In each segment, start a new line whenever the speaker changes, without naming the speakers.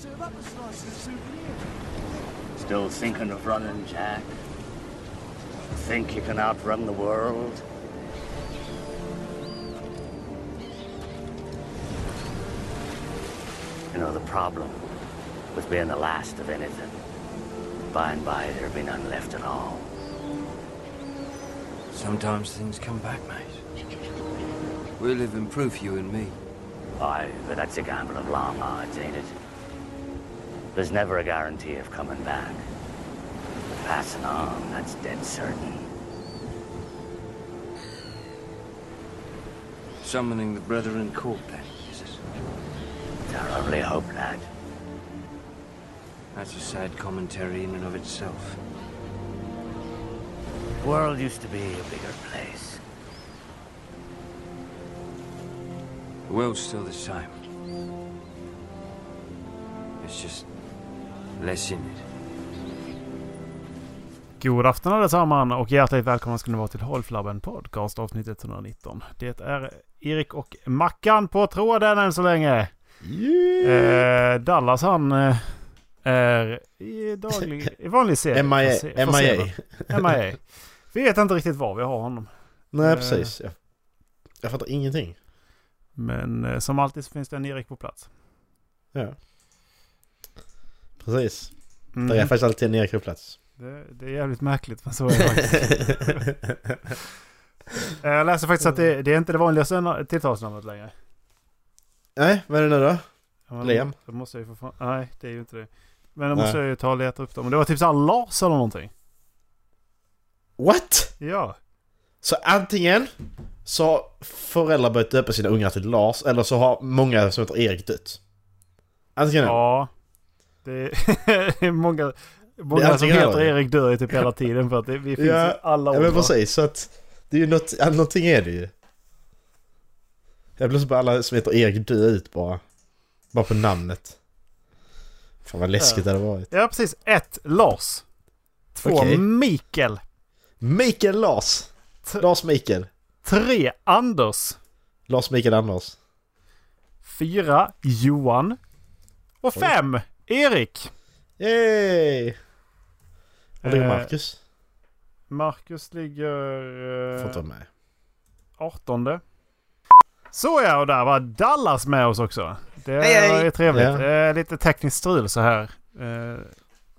give up a slice of the souvenir.
Still thinking of running, Jack? Think you can outrun the world? You know, the problem with being the last of anything, by and by there'll be none left at all.
Sometimes things come back, mate. We live in proof, you and me.
Aye, but that's a gamble of long odds, ain't it? There's never a guarantee of coming back. Passing on, that's dead certain.
Summoning the Brethren Court, then, is it?
Terribly hope that.
That's a sad commentary in and of itself.
The world used to be a bigger place.
The world's still the same. It's just less in it.
God afton allesammans och hjärtligt välkomna ska ni vara till Hållflabben Podcast avsnitt 119. Det är Erik och Mackan på tråden än så länge. Eh, Dallas han eh, är i daglig, i vanlig serie.
MIA.
Får se- får se
MIA.
då. MIA. Vi vet inte riktigt var vi har honom.
Nej,
Eh.
precis. Jag, jag fattar ingenting.
Men eh, som alltid så finns det en Erik på plats.
Ja. Precis.
Mm.
Där är faktiskt alltid en Erik på plats.
Det, det är jävligt märkligt men så är det faktiskt. Eh, Jag läser faktiskt att det, det är inte det vanliga söna- tilltalsnamnet längre.
Nej, vad är det nu då?
Ja, men
Liam.
Då måste jag ju få fan... Nej, det är ju inte det. Men då
Nej.
måste jag ju ta och leta upp dem. Och Det var typ såhär Lars eller någonting.
What?
Ja.
Så antingen så har föräldrar börjat döpa sina ungar till Lars eller så har många som heter Erik dött. Antingen eller.
Ja. Det är, det är många...
Det är
Många som
antingen
heter
eller.
Erik dör ju typ hela tiden för att det, vi finns
Ja,
i alla
Ja
åldrar.
men precis, så att det är ju något, ja, någonting är det ju. Jag blir så bara alla som heter Erik dö ut bara. Bara på namnet. Fan vad läskigt det hade varit.
Ja, precis. Ett, Lars. Två,
Okej.
Mikael.
Mikael Lars!
T-
Lars Mikael.
Tre, Anders.
Lars Mikael Anders.
Fyra, Johan. Och
Oj.
fem, Erik.
Yay! Var ligger
Eh,
Marcus?
Marcus ligger... eh,
Får inte vara med.
18. Så ja, och där var Dallas med oss också. Det
Hej, hej.
är trevligt.
Ja.
Eh, lite tekniskt strul så här. Eh,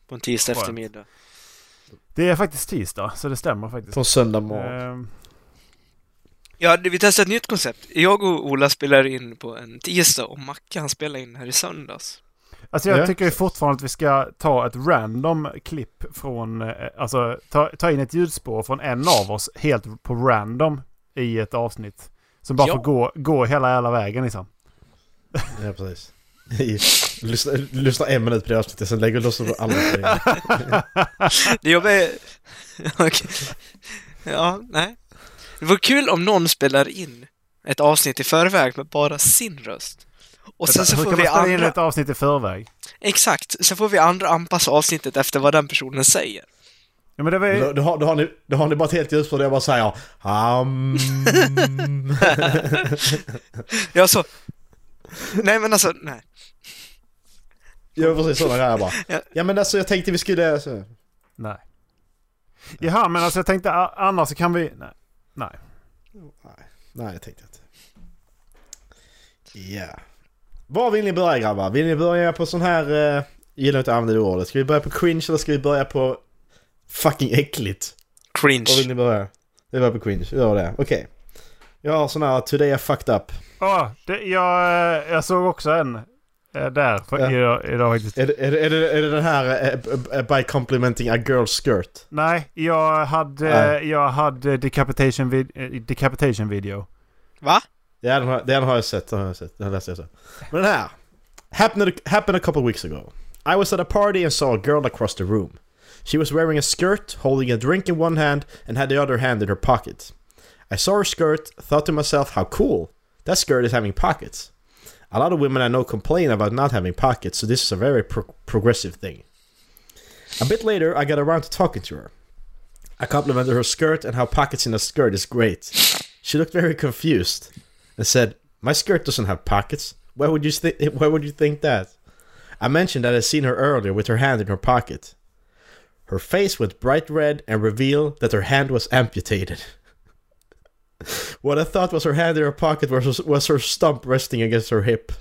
På en tisdag
Skönt.
eftermiddag.
det är faktiskt tisdag, så det stämmer faktiskt.
På en söndag morgon.
Eh,
Ja, det- vi testar ett nytt koncept. Jag och Ola spelar in på en tisdag och Macke han spelar in här i söndags.
alltså jag
Ja.
tycker ju fortfarande att vi ska ta ett random klipp från, eh, alltså ta, ta in ett ljudspår från en av oss helt på random i ett avsnitt. Som bara
Ja.
får gå, gå hela jävla vägen liksom.
Ja precis. lyssna, lyssna en minut på det avsnittet, sen lägger du loss och alla på det.
Det jobbar är... Okej. Ja, nej. Det vore kul om någon spelar in ett avsnitt i förväg med bara sin röst. Och sen så
Hur
får
kan
vi
man ställa in
andra...
ett avsnitt i förväg?
Exakt! Sen får vi andra anpassa avsnittet efter vad den personen säger.
Ja, men det var ju...
Då, då, har, då, har ni, då har ni bara ett helt ljus på det jag bara säger um,
Ja, så... Nej, men alltså, nej.
Ja precis sådana grejer bara.
Ja.
Ja men alltså jag tänkte vi skulle... Så.
Nej. Jaha, men alltså jag tänkte a- annars så kan vi... Nej. Nej.
Nej jag tänkte inte. Ja. Var vill ni börja grabbar? Vill ni börja på sån här... eh, Jag gillar inte att använda det ordet. Ska vi börja på cringe eller ska vi börja på fucking äckligt? Var vill
Cringe.
ni börja? Vi börjar på cringe, vi gör det. Okej. Jag har sån här today I fucked up.
Åh, Ah, det, jag, eh, jag såg också en eh, där för,
Ja.
idag, idag faktiskt.
Är det, är, det, är, det, är det den här eh, b- b- by complimenting a girl's skirt?
Nej, jag hade,
Nej.
jag hade decapitation, vid, eh, decapitation video.
Va?
Ja, den er har, den har jag sett. Den har jag sett. Den läste jag så. Men den här. Happened, happened a couple weeks ago. I was at a party and saw a girl across the room. She was wearing a skirt, holding a drink in one hand and had the other hand in her pocket. I saw her skirt, thought to myself, how cool. That skirt is having pockets. A lot of women I know complain about not having pockets, so this is a very pro- progressive thing. A bit later, I got around to talking to her. I complimented her skirt and how pockets in a skirt is great. She looked very confused and said, "My skirt doesn't have pockets. Why would you think? Why would you think that?" I mentioned that I'd seen her earlier with her hand in her pocket. Her face went bright red and revealed that her hand was amputated. what I thought was her hand in her pocket was, was her stump resting against her hip.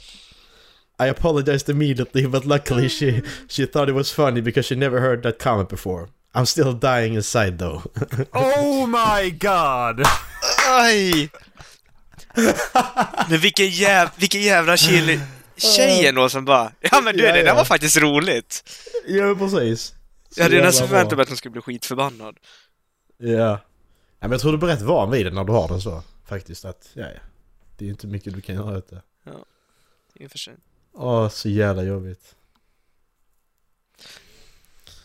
I apologized immediately, but luckily she, she thought it was funny because she never heard that comment before. I'm still dying inside though.
Oh my god!
Aj! Men vilken, jäv, vilken jävla chili... Tjejen då som bara Ja men du,
Ja,
det där
ja.
var faktiskt roligt!
ja, precis.
Jag hade ju
jävla bra.
nästan förväntat mig att hon skulle bli skitförbannad.
Ja. ja men jag tror du blir rätt van vid det när du har den så. Faktiskt att, ja ja. Det är ju inte mycket du kan göra åt det.
I och för sig.
Åh, så jävla jobbigt.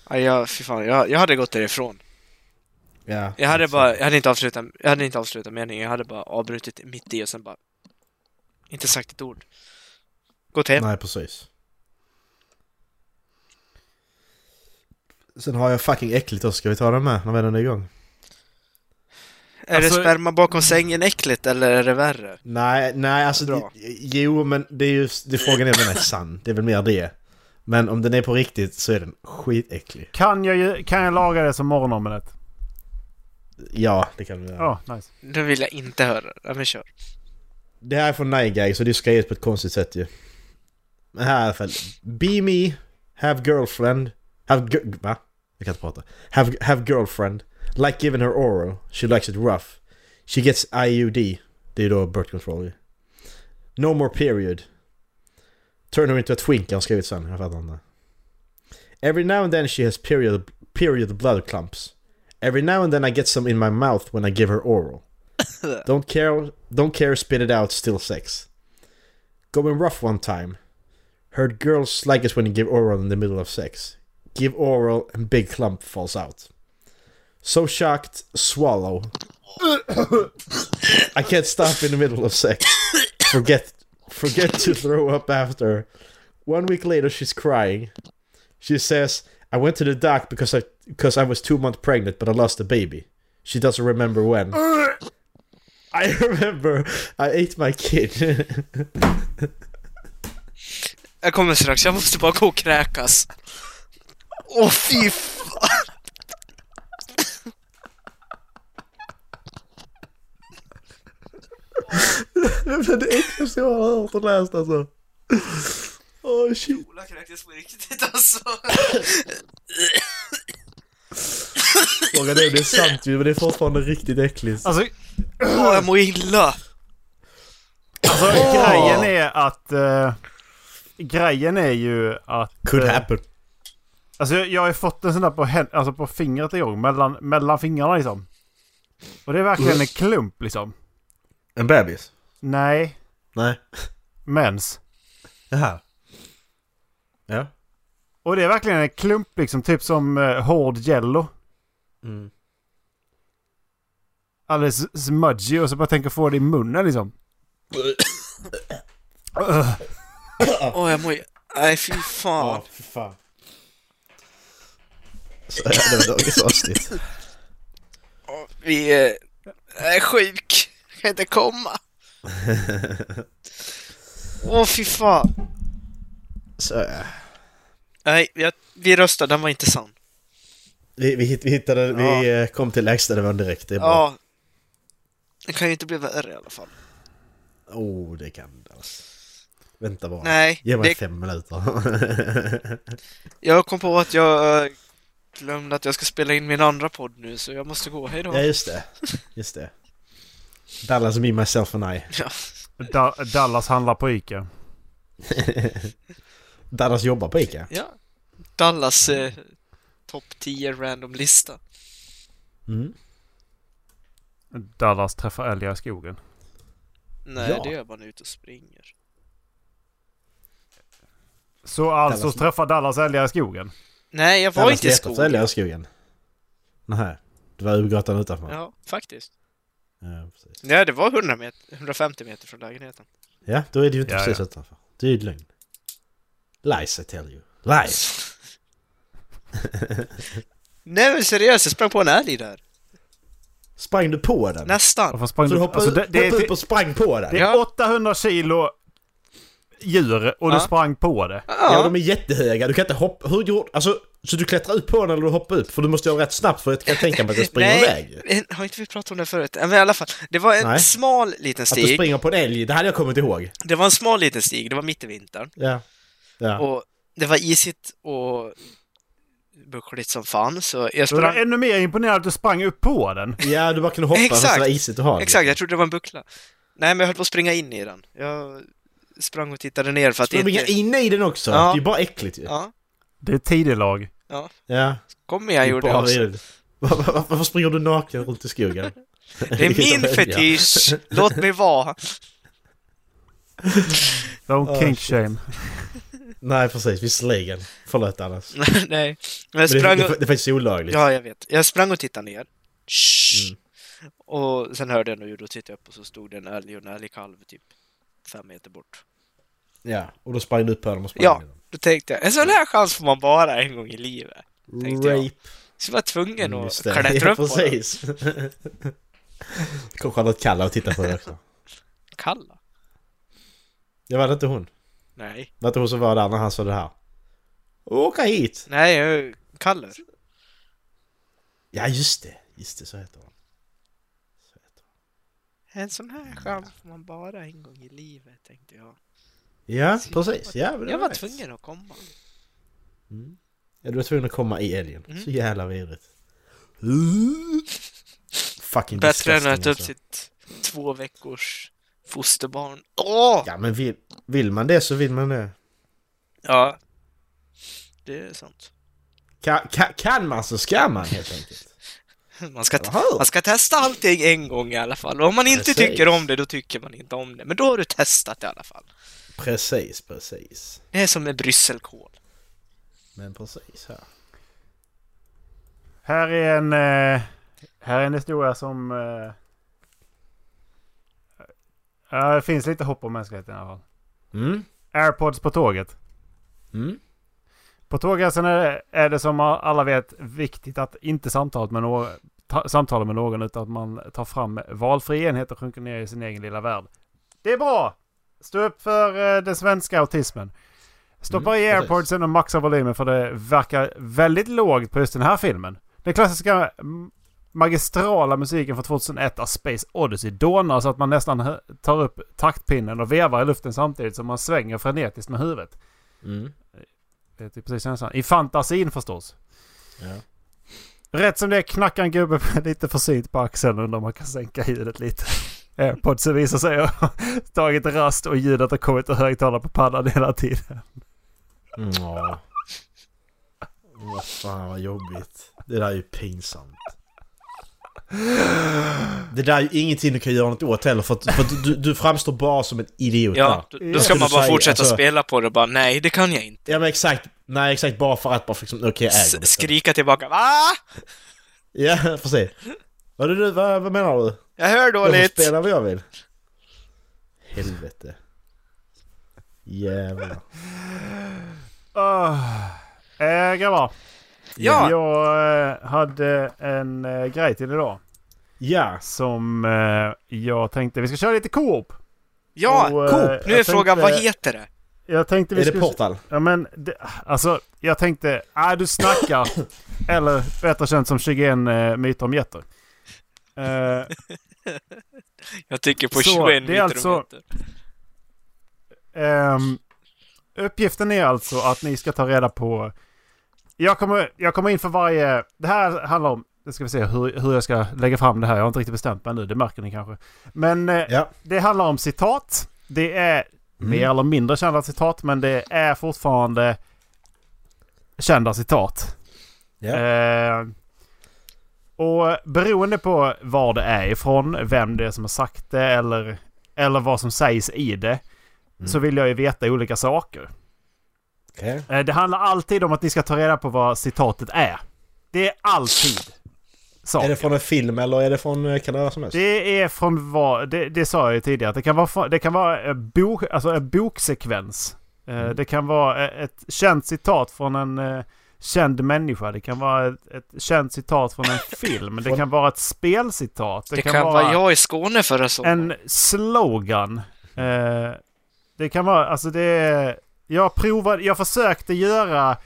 Aj, jag, fy fan, jag, jag hade gått därifrån.
Ja.
Jag hade bara, jag hade inte avslutat, jag hade inte avslutat meningen, jag hade bara avbrutit mitt i och sen bara... Inte sagt ett ord. Gått hem.
Nej, precis. Sen har jag fucking äckligt också, ska vi ta den med när vi ändå är igång?
Är
Alltså-
det sperma bakom sängen äckligt eller är det värre?
Nej, nej alltså
Bra.
det- jo men det är ju, det är frågan är om den är sann, det är väl mer det. Men om den är på riktigt så är den skitäcklig.
Kan jag, ju- kan jag laga det som morgonomelett?
Ja, det kan vi göra.
Ja, nice.
Nu vill jag inte höra. Ja men kör.
Det här är från Nigag, så det är skrivet på ett konstigt sätt ju. Men här i alla fall. Be me, have girlfriend, have gi- va? Jag kan inte prata. Have, have girlfriend, like giving her oral, she likes it rough. She gets IUD, det är då birth control ju. No more period. Turn her into a twink, har han skrivit sen, jag fattar inte. Every now and then she has period, period blood clumps. Every now and then I get some in my mouth when I give her oral. Don't care, don't care, spit it out, still sex. Going rough one time. Heard girls like it when you give oral in the middle of sex. Give oral and big clump falls out. So shocked, swallow. I can't stop in the middle of sex. Forget, forget to throw up after. One week later, she's crying. She says, "I went to the doc because I because I was two months pregnant, but I lost the baby." She doesn't remember when. I remember I ate my kid.
Jag kommer strax, jag måste bara gå och kräkas. Åh fy fan.
det är det äckligaste jag har hört och läst alltså. Åh shit.
Ola kräktes på riktigt alltså.
Frågan är om det är sant ju, men det är fortfarande riktigt äckligt.
Alltså,
Åh jag mår illa.
alltså grejen är att... eh, grejen är ju att...
Could
eh,
happen.
Alltså jag, jag har ju fått en sån där på, hän- alltså, på fingret igång. Mellan, mellan fingrarna liksom. Och det är verkligen en klump liksom.
En bebis?
Nej,
Nej.
mens.
Jaha. Ja.
Och det är verkligen en klump liksom. Typ som eh, hård jello.
Mm.
Alldeles smudgy och så bara tänker få det i munnen liksom. Ugh.
Åh jag mår... Nej fy fan.
för fan. Så, det var dagens avsnitt.
Åh, Vi är... Jag är sjuk. Jag kan inte komma. Åh fy fan.
Så, ja.
Nej, jag, vi röstar, den var inte sann.
vi, vi, hitt- vi hittade, vi eh, kom till lägsta nivån direkt. Det är bra.
Ja. Det kan ju inte bli värre i alla fall.
Oh, det kan det alltså. Vänta bara.
Nej,
Ge mig
det-
fem minuter.
Jag kom på att jag eh, glömde att jag ska spela in min andra podd nu, så jag måste gå. Hej då.
ja, just det. Just det. Dallas, me, myself and I.
Ja.
Da- Dallas handlar på Ica.
Dallas jobbar på Ica.
ja. Dallas eh, topp 10 random-lista.
Mm.
Dallas träffar älgar i skogen.
Nej,
Ja.
det gör man ute och springer.
Så alltså
Dallas-
träffar Dallas älgar i skogen?
Nej, jag var
Dallas
inte i
letar efter älgar
skogen.
i skogen. Nej, det var Uggatan utanför. Ja.
Ja, faktiskt.
Ja, precis.
Nej, det var 100 meter, 150 meter från lägenheten.
ja, då är det ju inte
Ja,
precis
ja.
utanför. Det är ju lögn. Lies I tell you. Lies!
Nej men seriöst, jag sprang på en älg där.
Sprang du på den?
Nästan. Alltså,
Varför sprang
Så du
du...
hoppade,
Alltså, det, det,
hoppade
är,
upp och sprang på den?
det
Ja.
är 800 kilo djur och du
Ja.
sprang på det.
Ja.
Ja,
de är jättehöga. Du kan inte hoppa... Hur gjorde... Alltså, så du klättrar upp på den eller du hoppar upp? För du måste göra rätt snabbt för jag kan tänka mig att den springer iväg.
Nej, har inte vi pratat om det förut? Ja, Men i alla fall, det var en
Nej.
smal liten
Att du
stig.
springer på en älg, det hade jag kommit ihåg.
Det var en smal liten stig, det var mitt i vintern.
Ja. Ja.
Och det var isigt och buckligt som fan, så jag
Då är
sprang...
jag ännu mer imponerad att du sprang upp på den.
ja, du bara kunde hoppa för
Exakt.
det var isigt att ha.
Exakt, jag trodde det var en buckla. Nej, men jag höll på att springa in i den. Jag sprang och tittade ner för att
Springer
inte...
inne i den också.
Ja.
Det är ju bara äckligt ju.
Ja,
Det är tidelag.
Ja.
kom igen gjorde
Bara
jag också.
vill. Varför varför springer du naken runt i skogen?
Det är min fetisch! Låt mig vara!
Don't
Ah,
kink
shit.
shame.
Nej, precis. Visserligen. Förlåt annars. Men
Nej, men jag
det, det,
sprang
det,
och...
är faktiskt olagligt.
Ja, jag vet. Jag sprang och tittade ner. Shh.
Mm.
Och sen hörde jag nog ljud och tittade upp och så stod det en älg och en älgkalv typ fem meter bort.
Ja, och då sprang du upp på dem och sprang
Ja,
i dem.
då tänkte jag, en sån här chans får man bara en gång i livet. Tänkte jag.
Rape.
Så jag var tvungen att
Just det.
klättra
Ja,
upp på den.
precis. Det kom Charlotte Kalla och tittade på det också.
Kalla?
Jag var det inte hon?
Nej.
Var det inte hon som var där när han sa det här? Åka hit!
Nej, jag- Kaller.
Ja, just det. Just det, så heter hon. Så heter hon.
En sån här chans får man bara en gång i livet, tänkte jag.
Ja, precis. Ja, men det
Jag var
nice.
tvungen att komma.
Ja, du var tvungen att komma i älgen.
Mhm.
Så jävla vidrigt. Fucking
Bättre än
disgusting,
att äta upp
alltså.
sitt två veckors fosterbarn. Åh!
Ja, men vill, vill man det så vill man det.
Ja. Det är sant.
Kan, kan, kan man så ska man helt enkelt.
Man ska,
Eller hur?
man ska testa allting en gång i alla fall. Och om man inte
Precis.
tycker om det, då tycker man inte om det. Men då har du testat i alla fall.
Precis, precis.
Det är som med brysselkål.
Men precis här.
Här är en, eh, här är en historia som... eh, Ja, det finns lite hopp om mänskligheten i alla fall.
Mm.
Airpods på tåget.
Mm.
På tågresan är det, är det som alla vet viktigt att inte samtala med, någon, ta, samtala med någon utan att man tar fram valfri enhet och sjunker ner i sin egen lilla värld. Det är bra! Stå upp för eh, den svenska autismen. Stoppa
Mm,
i
precis.
airpodsen och maxa volymen för det verkar väldigt lågt på just den här filmen. Den klassiska mm, magistrala musiken från 2001 av Space Odyssey dånar så att man nästan hö- tar upp taktpinnen och vevar i luften samtidigt som man svänger frenetiskt med huvudet.
Mm.
Det är typ precis känslan. I fantasin förstås.
Ja.
Rätt som det är knackar en gubbe med lite försynt på axeln undrar om man kan sänka ljudet lite. Eh, Airpodsen visar sig ha tagit rast och ljudet har kommit och högtalare på pannan hela tiden.
Mm, Ja. Vad fan vad jobbigt. Det där är ju pinsamt. Det där är ju ingenting du kan göra något åt heller för att, för att du, du framstår bara som en idiot
Ja,
där.
då, då ska
Ja.
man bara
Säg,
fortsätta
alltså-
spela på det och bara nej, det kan jag inte.
Ja men exakt. Nej exakt bara för att bara liksom, okej jag äger det.
S- skrika tillbaka va?
Ja precis. Vad, är det du, vad, vad menar du?
Jag hör
Jag
dåligt!
får spela vad jag vill. Helvete. Jävlar.
Oh. Eh, grabbar.
Ja!
Jag eh, hade en eh, grej till idag.
Ja.
Som eh, jag tänkte vi ska köra lite co-op.
Ja!
Och, eh, jag
Nu är
tänkte-
frågan, vad heter det?
Jag tänkte vi
Är det
skulle...
Portal?
Ja men, det, alltså jag tänkte, äh, du snackar. Eller bättre känt som 21 eh, myter om getter. Eh,
Jag tycker på
Så,
21
det är alltså-
mikrometer.
ehm, uppgiften är alltså att ni ska ta reda på... Jag kommer, jag kommer in för varje... Det här handlar om... Nu ska vi se hur, hur jag ska lägga fram det här. Jag har inte riktigt bestämt mig nu, det märker ni kanske. Men eh,
Ja.
det handlar om citat. Det är mer eller mindre kända citat, men det är fortfarande kända citat.
Ja.
Eh, och beroende på var det är ifrån, vem det är som har sagt det eller, eller vad som sägs i det.
Mm.
Så vill jag ju veta olika saker.
Okej.
Eh, det handlar alltid om att ni ska ta reda på vad citatet är. Det är alltid saker.
Är det från en film eller är det från, eh, kan det vara som helst?
Det är från vad... Det, det sa jag ju tidigare. att Det kan vara, från- det kan vara eh, bok, alltså en boksekvens. Eh, Det kan vara eh, ett känt citat från en eh, känd människa. Det kan vara ett, ett känt citat från en film. Det kan vara ett spelcitat.
Det kan vara jag i Skåne förra sommaren.
en slogan. Eh, Det kan vara, alltså det är... Jag provade, jag försökte göra...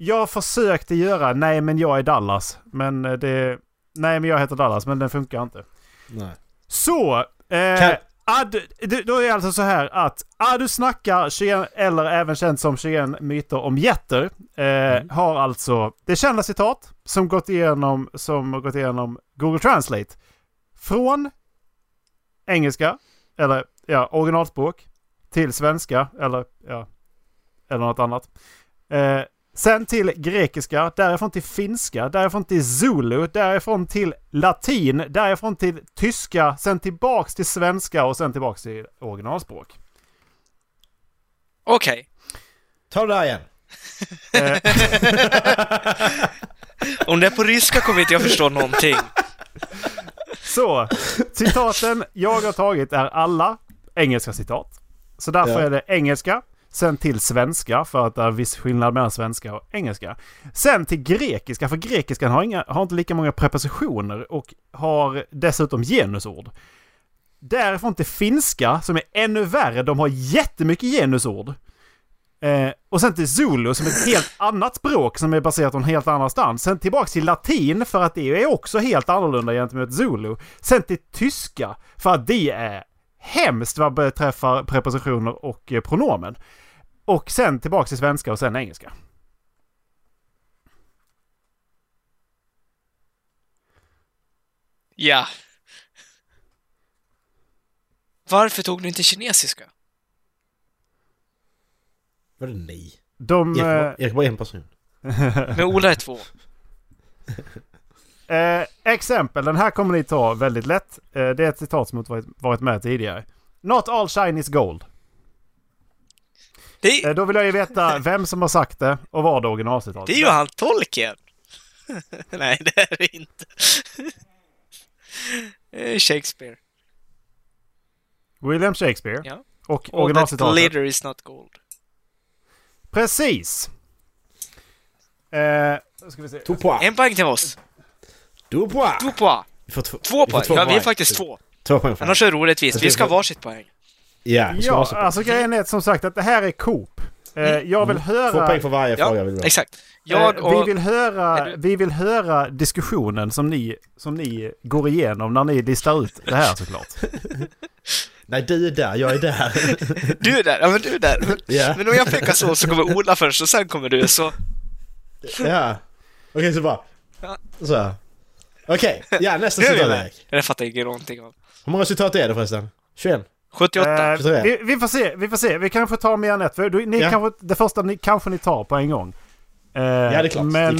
Jag försökte göra, nej men jag är Dallas. Men eh, det... Nej men jag heter Dallas, men den funkar inte.
Nej.
Så! Eh,
Kan-
ad, det- då är det alltså så här att Adu snackar, tjugoen- eller även känt som 21 myter om jätter, eh, har alltså det kända citat som gått igenom, som har gått igenom Google Translate. Från engelska, eller ja, originalspråk, till svenska, eller ja, eller något annat. Eh, sen till grekiska, därifrån till finska, därifrån till zulu, därifrån till latin, därifrån till tyska, sen tillbaks till svenska och sen tillbaks till originalspråk.
Okej.
Ta det där igen.
Om det är på ryska kommer inte jag förstå någonting.
Så, citaten jag har tagit är alla engelska citat. Så därför
Ja.
är det engelska, sen till svenska för att det är viss skillnad mellan svenska och engelska. Sen till grekiska, för grekiskan har, inga, har inte lika många prepositioner och har dessutom genusord. Därifrån till finska, som är ännu värre, de har jättemycket genusord. Eh, och sen till zulu som är ett helt annat språk som är baserat någon helt annanstans. Sen tillbaks till latin för att det är också helt annorlunda gentemot zulu. Sen till tyska för att det är hemskt vad beträffar prepositioner och eh, pronomen. Och sen tillbaks till svenska och sen engelska.
Ja. Varför tog du inte kinesiska?
Vadå nej?
De...
Erik
eh,
var- Erik var en person.
Men Ola är två.
Eh, exempel, den här kommer ni ta väldigt lätt. Eh, det är ett citat som har varit, varit med tidigare. Not all shine is gold.
Det är,
Eh, då vill jag ju veta vem som har sagt det och vad det originalcitatet
det är ju han Tolkien! Nej, det är det inte. Det är Shakespeare.
William Shakespeare.
Ja.
Och
Och that
originalcitatet.
glitter is not gold.
Precis! Eh, då ska vi se.
Två poäng.
En poäng till oss.
Två poäng.
Två poäng.
Vi får två,
Två
vi får
poäng. Ja, vi är faktiskt två.
Två poäng. för
Annars
det.
är det orättvist. Vi ska ha varsitt poäng.
Ja, vi ska
Ja,
ha så poäng.
alltså grejen är som sagt att det här är Coop. Eh, jag vill
Två
höra...
poäng för varje fråga
Ja,
vill vi ha.
exakt. Mm. Jag
eh, vi,
och...
vill höra
Är du-
vi vill höra diskussionen som ni, som ni går igenom när ni listar ut det här såklart.
Nej, du är där, jag är där.
Du är där, ja men du är där. Men,
Ja.
men om jag pekar så, så kommer Ola först och sen kommer du, så...
ja. Okej, så bara.
Ja.
Så. här. Okej, ja nästa
Nu är vi
citat
med!
Erik.
Det fattar jag inte någonting av.
Hur många citat är det förresten? 21?
78.
Eh,
Förstår jag.
vi, vi får se, vi får se. Vi kanske tar mer än ett. För du, ni
Ja.
kanske, det första ni, kanske ni tar på en gång. Eh, ja, det
är klart. Det är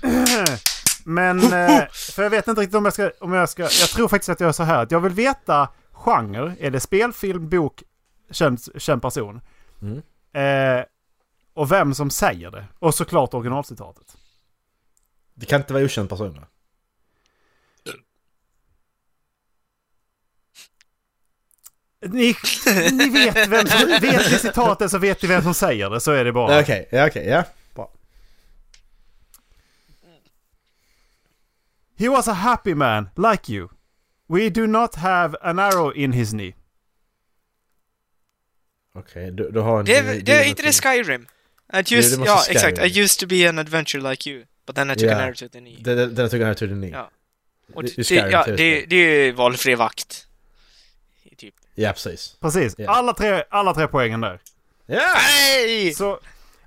klart.
men, eh, för jag vet inte riktigt om jag ska, om jag ska... Jag tror faktiskt att jag gör så här att jag vill veta genre. Är det spel, film, bok, känd, känd person?
Mm.
Eh, och vem som säger det. Och såklart originalcitatet.
Det kan inte vara okänd person va?
Ni, ni vet vem som... Vet ni citatet så vet ni vem som säger det. Så är det bara.
Ja, Okej, ja okej, ja. Bra.
He was a happy man, like you. We do not have an arrow in his knee.
Okej, du, du har en...
Det är, det är inte det Skyrim? Att just,
Jo, det måste
ja
Skyrim.
exakt, I used to be an adventure like you, but then I took
Ja.
an arrow to the knee.
Den, den, den tog jag här till den ni.
Ja. Och
det-
det,
det är
det,
Skyrim
ja,
till
det,
exempel.
det är ju valfri vakt. Typ.
Ja, precis.
Precis,
Ja.
alla, tre, alla tre poängen där.
Ja!
Nej!
Så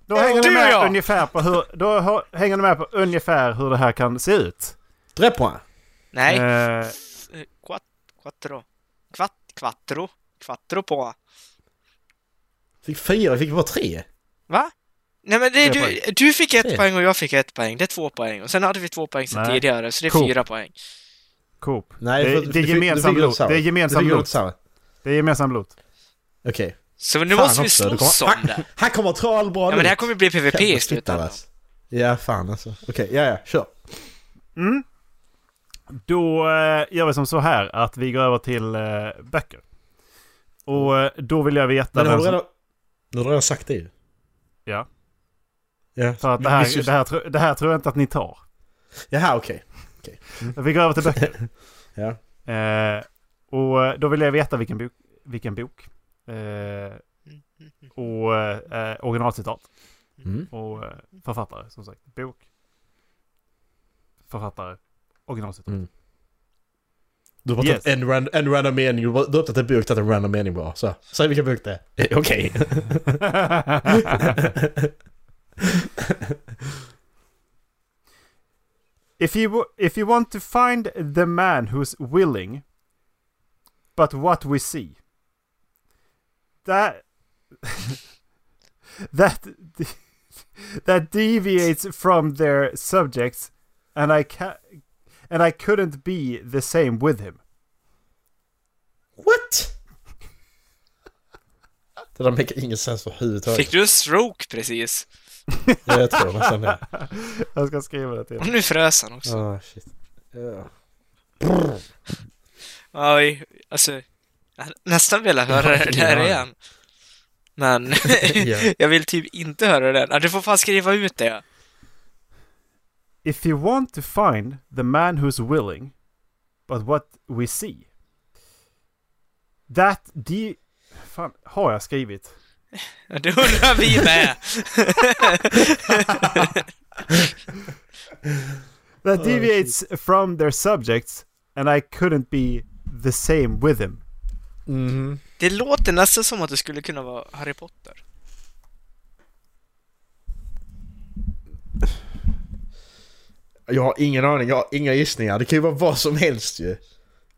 då
Ja,
hänger
du
ni med
ja!
ungefär på hur, då hör- hänger ni med på ungefär hur det här kan se ut.
Tre poäng.
Nej.
Eh,
Quat, quattro. Quat, quattro. Quattro på.
Fick fyra, vi fick bara tre.
Va? Nej men det,
Tre
du, du fick ett
Tre.
poäng och jag fick ett poäng. Det är två poäng. Och sen hade vi två poäng sen
Nej.
tidigare, så det är
Cool.
fyra poäng.
Coop.
Nej,
Det-
för-
det är
du fick- du
gemensam
fick något
lot.
samma.
Det är gemensam
Du fick något
lot.
samma.
Det är gemensam lot.
Okej.
Så nu
Fan
måste vi
också,
slåss
det kommer-
om det.
Här kommer troll bra
Ja men det här kommer bli PVP i slutändan.
alltså? Ja, fan alltså. Okej, ja, ja, kör.
Mm. Då eh, gör vi som så här att vi går över till eh, böcker. Och eh, då vill jag veta
Men har
vem
du
som...
redan... Nu har du redan sagt det ju.
Ja,
Ja.
för att det
Vi- vi-
här, det, här, tro- det här tror jag inte att ni tar.
Jaha, okej.
Vi går över till böcker.
Ja.
Eh, och då vill jag veta vilken bok, vilken bok Eh, och eh, originalcitat.
Mm.
Och eh, författare, som sagt. Bok. Författare. Originalcitat.
Mm. Du har bara
Yes.
tagit en, ran- en random mening, du har bara- du har tagit en bok, tagit en random mening bara. Så, säg vilken bok det är. Eh, Okej.
if, you, wa- if you want to find the man who's willing, but what we see. That... that... That deviates from their subjects and I ca- and I couldn't be the same with him.
What? Det där make ingen sens överhuvudtaget.
Fick du en stroke precis?
Ja, jag tror nästan det.
Jag ska skriva det till.
Och nu frös han också.
Ah, shit. Ja.
Oj, alltså. Jag hade nästan velat höra det där igen. Men
Ja.
jag vill typ inte höra det. Ja, Du får fan skriva ut det.
If you want to find the man who's willing, but what we see. That de... Fan, har jag skrivit?
Ja, Det undrar vi med.
Oh,
That deviates from their subjects and I couldn't be the same with him.
Mhm.
Det låter nästan som att det skulle kunna vara Harry Potter.
Jag har ingen aning, jag har inga gissningar. Det kan ju vara vad som helst ju.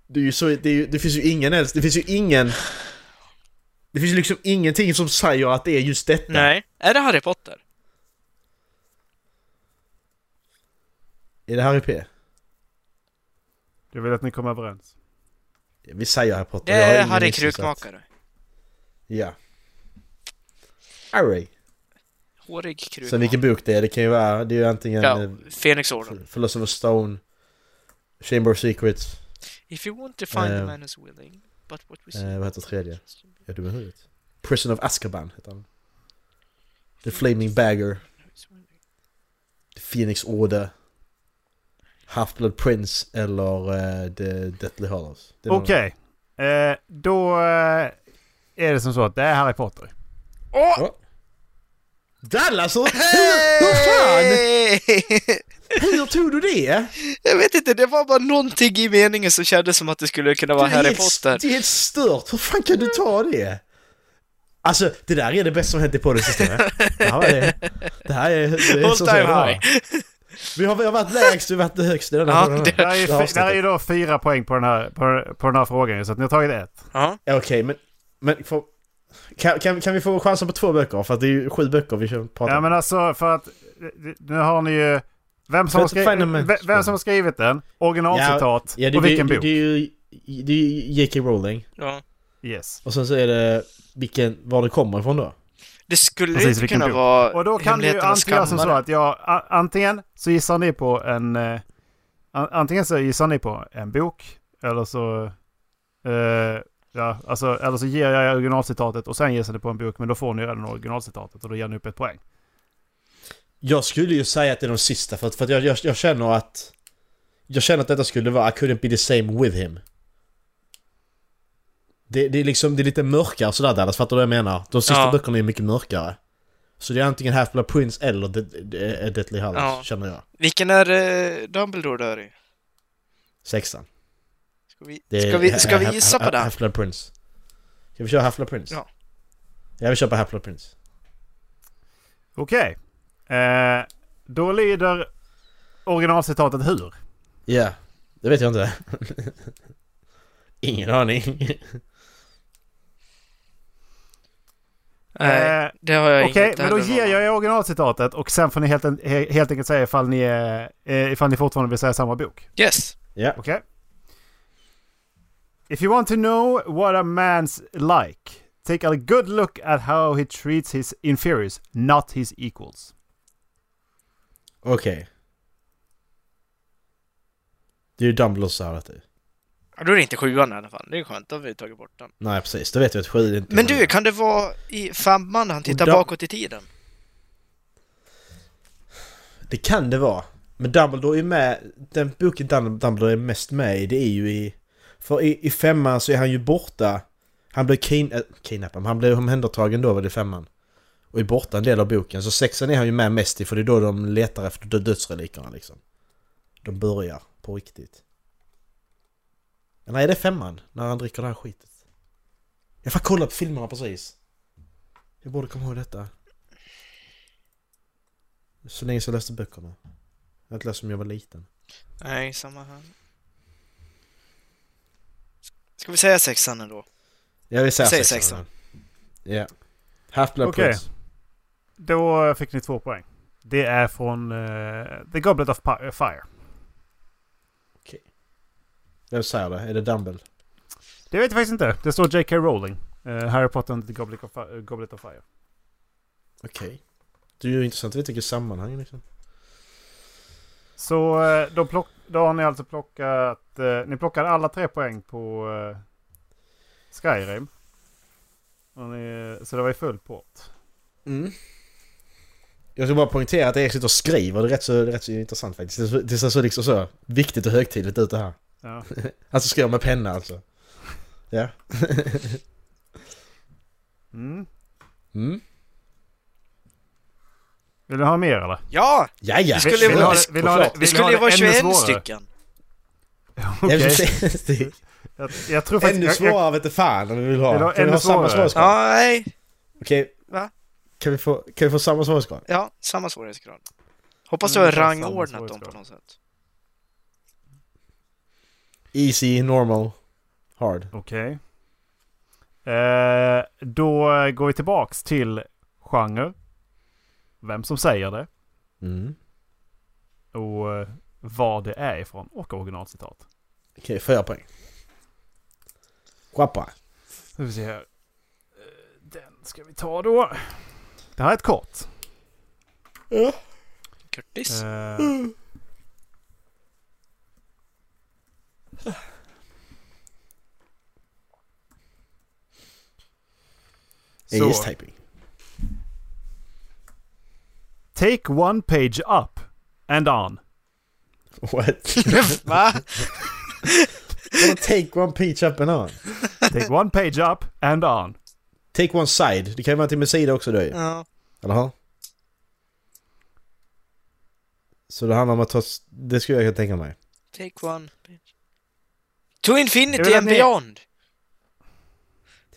Det, är ju så, det, är ju, det finns ju ingen helst, det finns ju ingen... Det finns ju liksom ingenting som säger att det är just detta.
Nej. Är det Harry Potter?
Är det Harry P?
Jag vill att ni kommer överens.
Vi säger Harry Potter.
Eh,
jag
Det
har
är
ingen
Harry
gissning, så att-
Krukmakare.
Ja. Harry.
Hårig krukmakare.
Sen vilken bok det är, det kan ju vara... Det är ju antingen...
Ja,
eh,
Phoenix Order.
Philosopher's Stone, Chamber of Secrets,
If you want to find the
Eh,
man who's willing, but what we see...
eh, vad heter tredje? är du med huvudet? Prison of Azkaban heter han. The Flaming Bagger, The Phoenix Order, Half-Blood Prince eller eh, The Deathly Hallows. Det är någon-
Okej. Eh, då eh, är det som så att det är Harry Potter.
Åh!
Ja. Dallas, hur, hur, hur fan? Hur tog du det?
Jag vet inte, det var bara någonting i meningen som kändes som att det skulle kunna vara
Det är
Harry
helt-
Potter.
Det är helt stört, hur fan kan du ta det? Alltså det där är det bästa som hänt i podden sista veckan. Det här var det. Det här är... Det är
All
så
time
så bra.
high.
Vi har, vi har varit lägst, vi har varit högst i den här
Ja,
podden.
det-
Där är, ju
Det
f- där är ju
avsnittet.
då fyra poäng på den här, på, på den här frågan ju, så att ni har tagit ett.
Ja.
Ja, Okej, men... men får, kan, kan, kan vi få chansen på två böcker? För att det är ju sju böcker vi kör- pratar
Ja
om.
men alltså för att eh, nu har ni ju vem som,
För
har
att find a
skrivit,
man-
vem, vem som har skrivit den, originalcitat
Ja, det,
och vilken
det,
bok.
Det, det är ju... Det är ju J.K. Rowling.
ja.
yes.
Och sen så är det vilken, var det kommer ifrån då.
Det skulle
Precis,
inte
vilken
kunna
bok.
vara
Och då kan ni ju
Hemligheternas
antingen göra som så
kammare.
att jag, a- antingen så gissar ni på en, eh, an- antingen så gissar ni på en bok eller så, eh, ja alltså, eller så ger jag er originalcitatet och sen gissar ni på en bok men då får ni ju redan originalcitatet och då ger ni upp ett poäng.
Jag skulle ju säga att det är de sista för att, för att jag, jag, jag känner att... Jag känner att detta skulle vara I couldn't be the same with him. Det, det är liksom, det är lite mörkare sådär Dallas, fattar du vad jag menar? De sista
Ja.
böckerna är mycket mörkare. Så det är antingen Half-Blood Prince eller De- De- De- Deathly Hallows,
Ja.
känner jag.
Vilken är eh, Dumbledore dör i?
Sexan.
Ska vi,
Det är
ska vi, ska
Ha-
vi gissa
Ha-
på den?
Half-Blood Prince. Ska vi köra Half-Blood Prince?
Ja.
Jag vill köpa Half-Blood Prince.
Okej. Eh, då lyder originalcitatet hur?
Ja, det vet jag inte. Ingen aning.
Nej,
Eh,
det har jag
Okej,
inget
men då
heller
ger
någon
jag er originalcitatet och sen får ni helt, en- he- helt enkelt säga ifall ni, är- eh, ifall ni fortfarande vill säga samma bok.
aning. Yes.
Ja.
Okej? If you want to know what a man's like, take a good look at how he treats his inferiors, not his equals.
Okej. Det är ju Dumbledore som sa det.
Ja, Då är det inte sjuan i alla fall. Det är skönt, då har vi tagit bort den.
Nej precis, det vet jag att sju är inte
Men du, kan det vara i femman när han tittar
Och Dum-
bakåt i tiden?
Det kan det vara. Men Dumbledore är med, den boken Dum- Dumbledore är mest med i, det är ju i... För i, i femman så är han ju borta. Han blev kidn äh, kidnappad, men han blev omhändertagen då, var det femman. Och är borta en del av boken. Så sexan är han ju med mest i, för det är då de letar efter dö- dödsrelikerna liksom. De börjar på riktigt. Nej, det är femman, när han dricker det här skitet. Jag får kolla på filmerna precis. Jag borde komma ihåg detta. Så länge som jag läste böckerna. Jag har inte läst som jag var liten.
Nej, samma här. Ska vi säga sexan ändå?
Jag vill säga
Säg
sexan. Ja. Half-Blood
Okej.
Prince.
Då fick ni två poäng. Det är från eh, The Goblet of Pi- Fire.
Vem säger det? Är det Dumble?
Det vet jag faktiskt inte. Det står J.K. Rowling. Eh, Harry Potter and the Goblet of, Fi- Goblet of Fire.
Okej. Det är ju intressant att vi tycker sammanhang liksom.
Så eh, då, plock, då har ni alltså plockat... Eh, ni plockade alla tre poäng på eh, Skyrim. Och ni, så det var ju full pott.
Mm. Jag ska bara poängtera att Erik sitter och skriver. Det är rätt så, det är rätt så intressant faktiskt. Det ser- Det ser så liksom så viktigt och högtidligt ut det här.
Ja.
Alltså skriver med penna alltså. Ja.
Mm.
Mm.
Vill ni ha mer eller?
Ja!
Ja, ja.
Vi skulle ju
vill,
vara-
ha det- vill ni ha det-
Såklart.
vill
Det
ni
skulle
ha
ju vara
det ännu
21
svårare?
stycken.
Jag vill
Okej.
säga-
Jag, jag tror faktiskt...
Ännu
Jag, jag,
svårare vete fan om vi vill
Vill du
ha.
ha
Kan vi
ännu
ha samma
svårare?
svårighetsgrad?
Ja, nej.
Okej.
Va?
Kan vi få, kan vi få samma svårighetsgrad?
Ja, samma svårighetsgrad. Hoppas du
Mm,
har
det är samma
rangordnat dem på
svårighetsgrad.
något sätt.
Easy, normal, hard.
Oh.
Okej. Eh, då eh, går vi tillbaks till genre. Vem som säger det
Mm.
och eh, var det är ifrån och originalcitat.
Okej, fyra poäng. Guapa.
Nu ska vi se här. Eh, Den ska vi ta då. Det här är ett kort.
Curtis?
Eh,
Så.
Så,
typing.
take one page up and on.
What?
Eh,
Va?
Gonna take one peach up and on.
Take one page up and on.
Take one side. Det kan ju vara till med sida också då ju.
Ja.
Eller hur? Så det handlar om att ta... s- Det skulle jag kunna tänka mig.
Take one. bitch. To
Jag
infinity
vill
and
att ni-
beyond!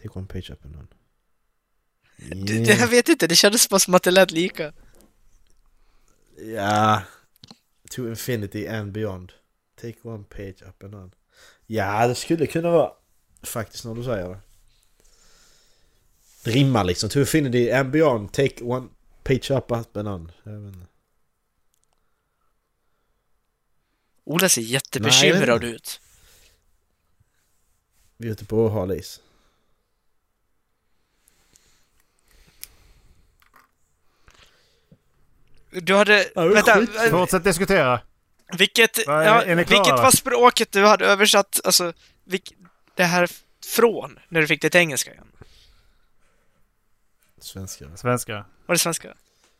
Take one page up and on.
Det, det, jag vet inte, det kändes bara som att det lät lika.
Ja. To infinity and beyond. Take one page up and on. Ja, det skulle kunna vara faktiskt när du säger det. Det rimmar liksom. To infinity and beyond. Take one page up, up and on. Jag vet inte.
Ola ser
Nej, jag vet
jättebekymrad ut.
Vi är ute på hal is.
Du hade...
Ja, det är
vänta,
skit.
eh,
Fortsätt diskutera.
vilket,
Vad är-
ja,
är ni klara?
vilket var språket du hade översatt, alltså, vilk, det här f- från, när du fick det till engelska igen?
Svenska.
Svenska.
Var det svenska?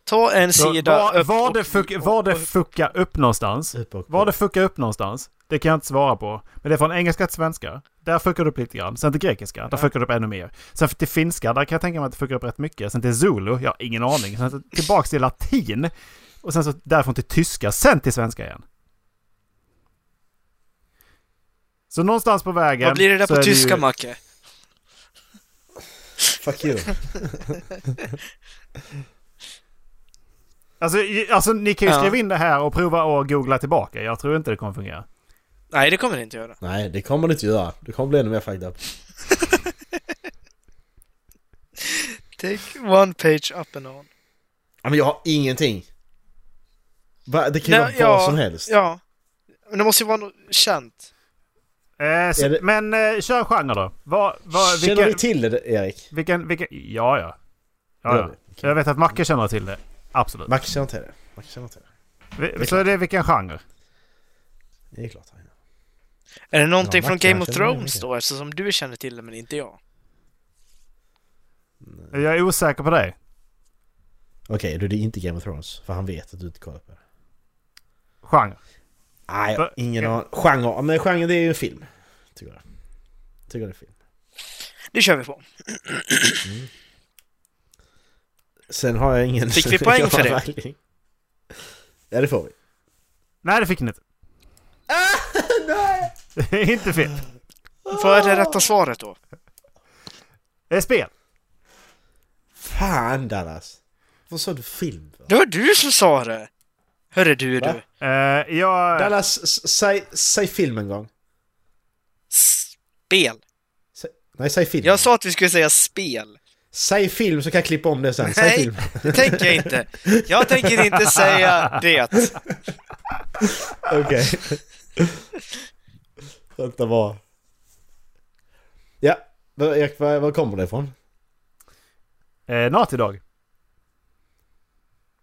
Ta en
Så,
sida
var,
upp
var,
och-
det fuck, var det fucka upp någonstans?
Upp och
Var det fucka upp någonstans? Det kan jag inte svara på. Men det är från engelska till svenska. Där fuckar du upp lite grann. Sen till grekiska. Där fuckar du upp ännu mer. Sen till finska. Där kan jag tänka mig att du fuckar upp rätt mycket. Sen till zulu. Jag har ingen aning. Sen tillbaks till latin. Och sen så därifrån till tyska. Sen till svenska igen. Så någonstans på vägen...
Vad blir det där
så
på
är
tyska,
ju-
Macke?
Fuck you.
alltså, i- alltså, ni kan ju
Ja.
skriva in det här och prova och googla tillbaka. Jag tror inte det kommer fungera.
Nej, det kommer det inte göra.
Nej, det kommer du inte göra. Du kommer bli ännu mer fucked up.
Take one page up and on.
Ja, Men jag har ingenting. Va? Det kan ju vara vad som helst.
Ja. Men det måste ju vara något känt.
Eh, så,
Är det-
Men eh, kör genre då. Vad- vad-
Känner
vilka-
du till det, Erik?
Vilken, vilken, ja ja. ja,
Gör
ja.
det.
Jag vet att Macke känner till det. Absolut.
Max känner till det. Max känner till det.
Vi- Så är det vilken genre?
Det är klart han gör.
Är det någonting
Ja,
från
Macke,
Game
jag
of
känner igen
Thrones
det.
då, eftersom du känner till det men inte jag?
Jag är osäker på dig.
Okej, då är det inte Game of Thrones. För han vet att du inte kollar på det.
Genre.
Nej, jag har
Va-
ingen
ja.
aning. Genre. Men genre, det är ju en film. Tycker jag. Tycker det är en film.
Det kör vi på.
Sen har jag ingen...
Fick vi poäng för det?
Verkligen. Ja, det får vi.
Nej, det fick ni inte. Nej! inte fel.
Vad
Ah.
är det rätta svaret då?
Det är spel.
Fan Dallas! Vad sa du film? för?
Det var du som sa det! Hörru du
Va?
du.
Eh, jag...
Dallas, s- säg, säg film en gång.
Spel.
Säg, nej, säg film.
Jag sa att vi skulle säga spel.
Säg film så kan jag klippa om det sen. Säg
Nej,
film.
det tänker jag inte. Jag tänker inte säga det.
Okej. Vänta bara. Ja, vad- Erik, var, var kommer det ifrån?
Eh, Naughty Dog.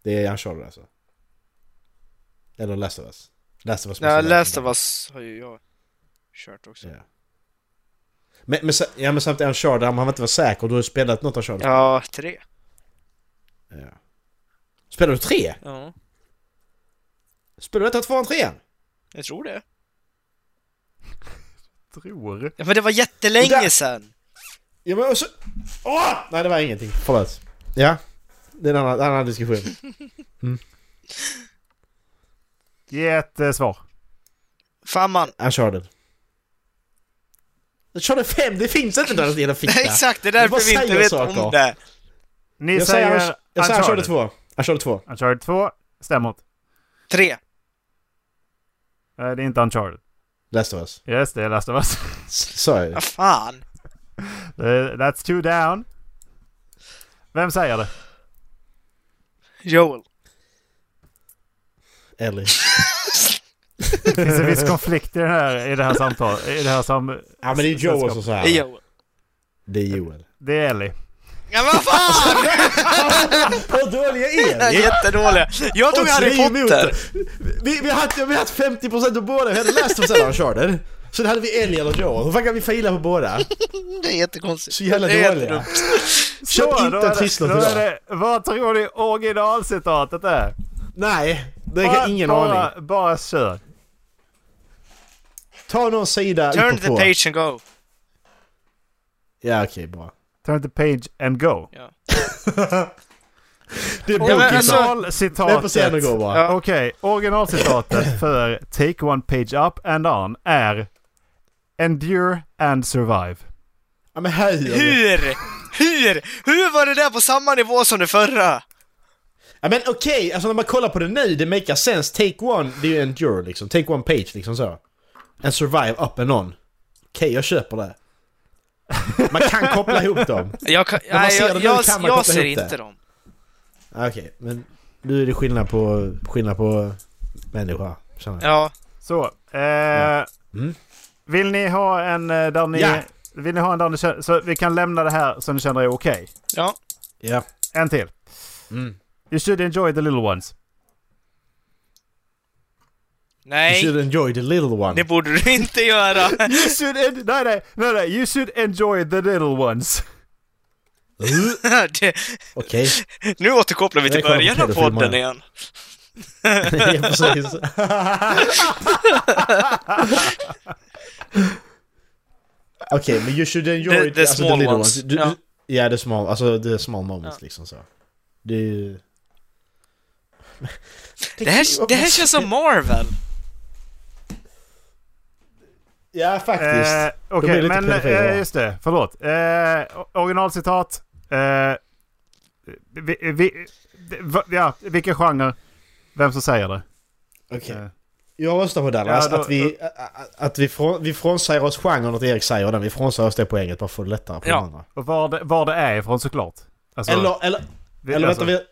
Det är Uncharted alltså? Eller Last of Us? Last of Us.
Ja,
måste
Last
vara-
of Us har ju jag kört också.
Ja. Men, men, sa- ja, men samtidigt Uncharted, han behöver inte vara säker. Du har ju spelat något Uncharted.
Ja, tre.
Ja. Spelar du tre?
Ja,
Spelar du detta tvåan, trean?
jag tror det.
Tror.
Ja, men det var
Och där-
jättelänge sedan.
Ja men och så... Åh! Nej det var ingenting. Förlåt. Ja. Det är en annan, annan diskussion.
Ge ett eh, svar.
Fan man.
Uncharted. Uncharted 5, det finns inte där i hela fickan.
Nej, exakt. Det är
Vad
därför vi inte
säger
vet
saker?
om det.
Ni
Jag säger,
säger,
Unch- jag säger Uncharted
Uncharted
2. Uncharted 2.
Uncharted 2. Stämmer inte.
Tre.
Eh, det är inte Uncharted.
Last of us.
Yes, det är Last of Us.
S- Sa jag
Vad
det?
fan.
Eh, That's two down. Vem säger det?
Joel.
Ellie.
Det finns en viss konflikt i, den här, i det här samtalet. I det här sam...
Ja men det är Joel som
Det
säger
är
det.
Joel.
Det är Joel.
Det är Ellie.
Ja, vad fan!
Hur dåliga Alltså, är
Det är
ni?
Jättedåliga. Jag tog
Och
Harry
tre emot
Potter.
det. Vi, vi, har haft, vi har haft 50% av båda, vi hade Last of us eller Uncharted. Sen hade vi Ellie eller Joel. Hur fan kan vi faila på båda?
Mm, Det är jättekonstigt.
Så jävla
Det är
dåliga.
jättedumt.
Köp
Så, då
inte
är
en
det-
trisslott
då är
idag.
det- Vad tror ni originalcitatet är?
Nej, det har
Ah,
jag ingen
bara,
aning.
Bara kör.
Ta någon sida
Turn
upp och
the
på.
page and go.
Ja okej, bra.
Turn the page and go.
Ja.
Det är
men
bokigt.
alltså-
va? Men på scenen
Originalcitatet.
går bara.
Ja.
Okej, originalcitatet för Take One Page Up and On är Endure and Survive.
Ja men hej!
Hur? Hur? Hur var det där på samma nivå som det förra?
Ja men okej, alltså när man kollar på det nu, det makar sense. Take one, det är ju endure liksom. Take one page liksom så. And survive up and on. Okej, jag köper det. Man kan koppla ihop dem.
Jag, kan,
man
nej,
ser det nu
jag, jag,
kan man koppla
jag ser
ihop det.
inte dem.
Ja, Okej, men nu är det skillnad på, skillnad på människa. känner jag.
Ja.
Så. Eh,
Mm.
Vill ni ha en eh, där ni...
Ja.
Vill ni ha en där ni känner... Så vi kan lämna det här så ni känner er okej.
Ja.
Ja.
En till.
Mm.
You should enjoy the little ones.
You
Nej,
should enjoy the little
det
one.
borde du inte göra.
You should... En- nej, nej, nej, nej. You should enjoy the little ones.
Uh.
det,
Okej.
nu återkopplar vi till
Jag kollar på
början av
pedofilmerna.
podden igen.
ja, precis. Okej, men you should enjoy Alltså,
The- the small
little
ones.
Du,
Ja.
ja. ja, the small, alltså the small moments liksom så. Det är ju...
Det här, det här känns som Marvel.
Ja, faktiskt.
Eh,
De är
Okej,
lite
men
pedofila.
eh, just det. Förlåt. Eh, o- originalcitat. Eh, vi, vi, det- va- ja, vilken genre? Vem som säger det?
Okej.
eh.
Jag röstar på Dallas,
Ja, då-
att, vi, att, att vi, från, vi frånsäger oss genren att Erik säger den. Vi frånsäger oss det poänget bara för att lättare på
Ja.
de andra.
Och var det, var det är ifrån såklart. Alltså,
Eller, eller,
vi-
Eller
alltså,
vänta, vi...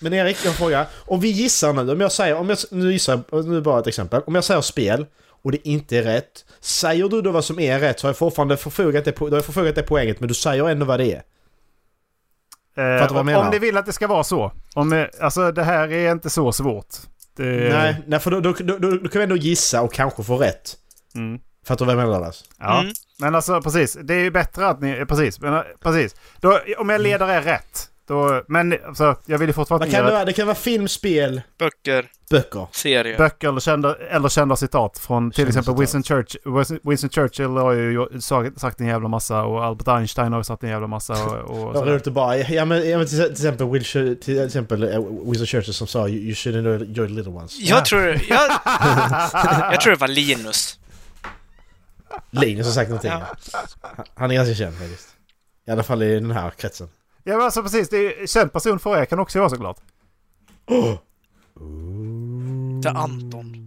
Men Erik, jag frågar. Om vi gissar nu, om jag säger, om jag, nu gissar jag, nu bara ett exempel. Om jag säger spel och det inte är rätt. Säger du då vad som är rätt så har jag fortfarande förfogat det, po- då har jag förfogat det poänget men du säger ändå vad det är.
Eh,
Fattar vad jag
om-
menar?
Om ni vill att det ska vara så. Om, eh, alltså det här är inte så svårt. Det,
Nej, nej för då, då, då, då, då kan vi ändå gissa och kanske få rätt.
Mm.
Fattar du vad jag menar Dallas?
Ja.
Mm.
Men alltså precis, det är ju bättre att ni... eh, Precis, men, eh, precis. Då, om jag leder er rätt Då, men alltså, jag vill ju fortfarande
Vad kan det
ge
vara? Det kan vara film, spel,
Böcker,
böcker.
serier.
böcker eller kända, eller kända citat från till
Kända
exempel
citat.
Winston, Church, Winston- Winston Churchill har ju gjort- sagt- sagt en jävla massa och Albert Einstein har ju sagt en jävla massa och, och
Vad
sådär.
roligt att bara... Ja men, ja, men till, till exempel Will, Sh- till exempel eh, Winston Churchill som sa You, you shouldn't know your little ones.
Jag tror... Jag, jag tror det var Linus.
Linus har sagt någonting.
Ja.
Han är ganska känd faktiskt. I alla fall i den här kretsen.
Ja men alltså precis, det är, känd person för er kan också vara såklart.
Det är Anton.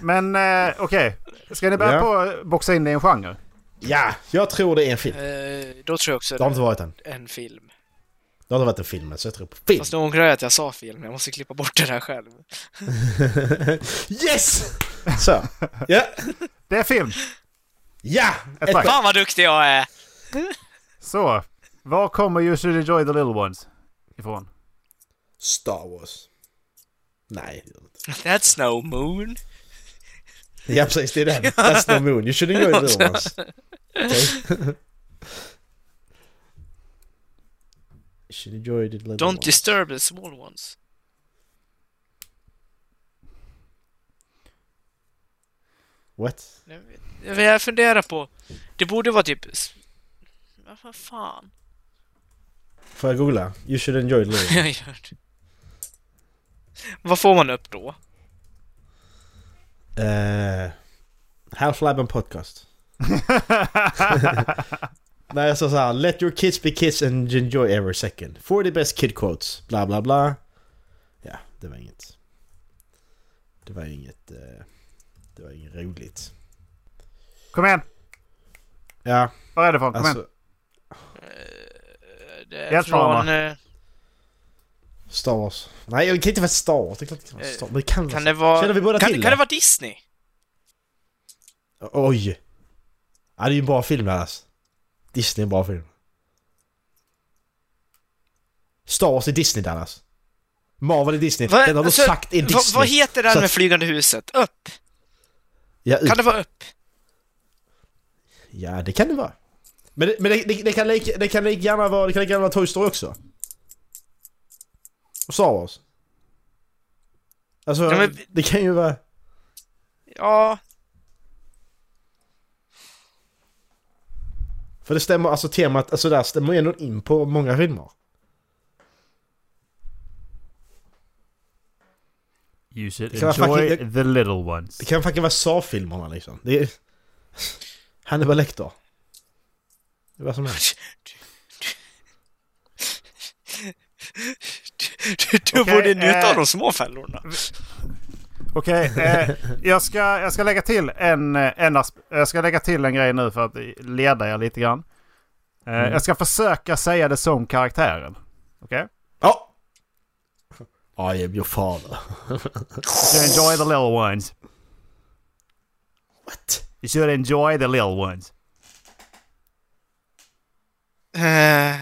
Men eh, okej, ska ni börja
Ja.
på att boxa in det i en genre?
Ja, jag tror det är en film.
Eh, då tror jag också
Det har
det
inte varit en.
är en film.
Det har inte varit en film än, så jag tror på film.
Fast nu ångrar jag att jag sa film. Jag måste klippa bort det där själv.
yes! Så. Ja!
Det är film!
Ja! Ett
tack.
skämt.
Fan vad duktig jag är!
Så, var kommer You Should Enjoy The Little Ones ifrån?
Star Wars. Nej. det gör det inte.
That's no moon.
Ja precis, det är den. That's the moon. You should enjoy the little ones. Okej. You should enjoy the little
Don't
ones.
disturb the small ones.
What?
Jag vet- Jag vet- jag funderar på... Det borde vara typ... s- Ja, Vad fan?
Får jag googla? You should enjoy the little ones.
Jag gör det. Vad får man upp då?
Eh, Half-Life and podcast. Nej, jag sa såhär. Let your kids be kids and enjoy every second. 40 best kid quotes. Bla bla bla. Ja, det var inget. Det var inget... eh, det var inget roligt.
Kom igen!
Ja,
Var är det ifrån? Kom igen!
alltså...
Det är
Helt
från...
samma.
eh,
Star Wars. Nej, jag kan inte vara Star Wars. Det är klart det kan vara
Eh,
Star Wars. Men det kan,
Kan det vara...
Känner vi båda
kan,
till
kan det
det?
vara Disney?
Oj! Ja, det är ju en bra film det här, alltså. Disney är en bra film. Star Wars är Disney Dallas. Marvel är Disney.
Va-
Den har
alltså,
du sagt är
va-
Disney.
vad heter den
Så att-
med flygande huset? Upp!
ja, ut.
Kan det vara upp?
ja, det kan det vara. Men det, men det, det, det kan lika det kan lika gärna vara, det kan lika gärna vara Toy Story också. Och Star Wars. Alltså,
Ja, men-
det kan ju vara...
Ja,
För det stämmer, alltså temat, alltså där stämmer ju ändå in på många filmer.
You should
Det kan vara
enjoy
fucking-
the little ones.
Det kan faktiskt vara Saw-filmerna liksom. Det är... Hannibal Lecter. Det är vad som helst.
du, du
Okej,
borde njuta
eh,
av de små fällorna.
Okej, eh, jag, ska, jag ska lägga till en, eh, en asp- Jag ska lägga till en grej nu för att leda er lite grann. Eh, Jag ska försöka säga det som karaktären. Okej?
Ja! I am your father.
You should enjoy the little ones.
What?
You should enjoy the little ones.
Eh,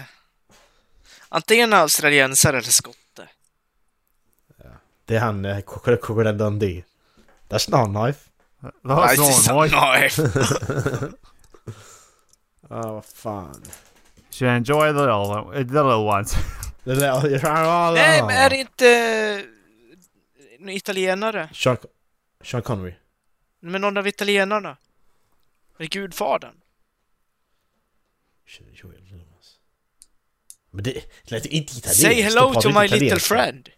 antingen australiensare eller skotte.
Det är han, eh, Crocodile Crocodile Dundee. That's not a knife.
Vad har sån? Oj.
Nej,
Ja, vad fan.
You should enjoy the little, eh, the little ones.
Det där...
Nej, men är det inte eh, en italienare?
Sean, Sean Connery.
Men någon av italienarna? Med gudfadern?
Shit, Joel Lewis. Men det det lät ju inte italienskt.
Say
De
hello
pratar
to
inte
my little
italienska.
friend.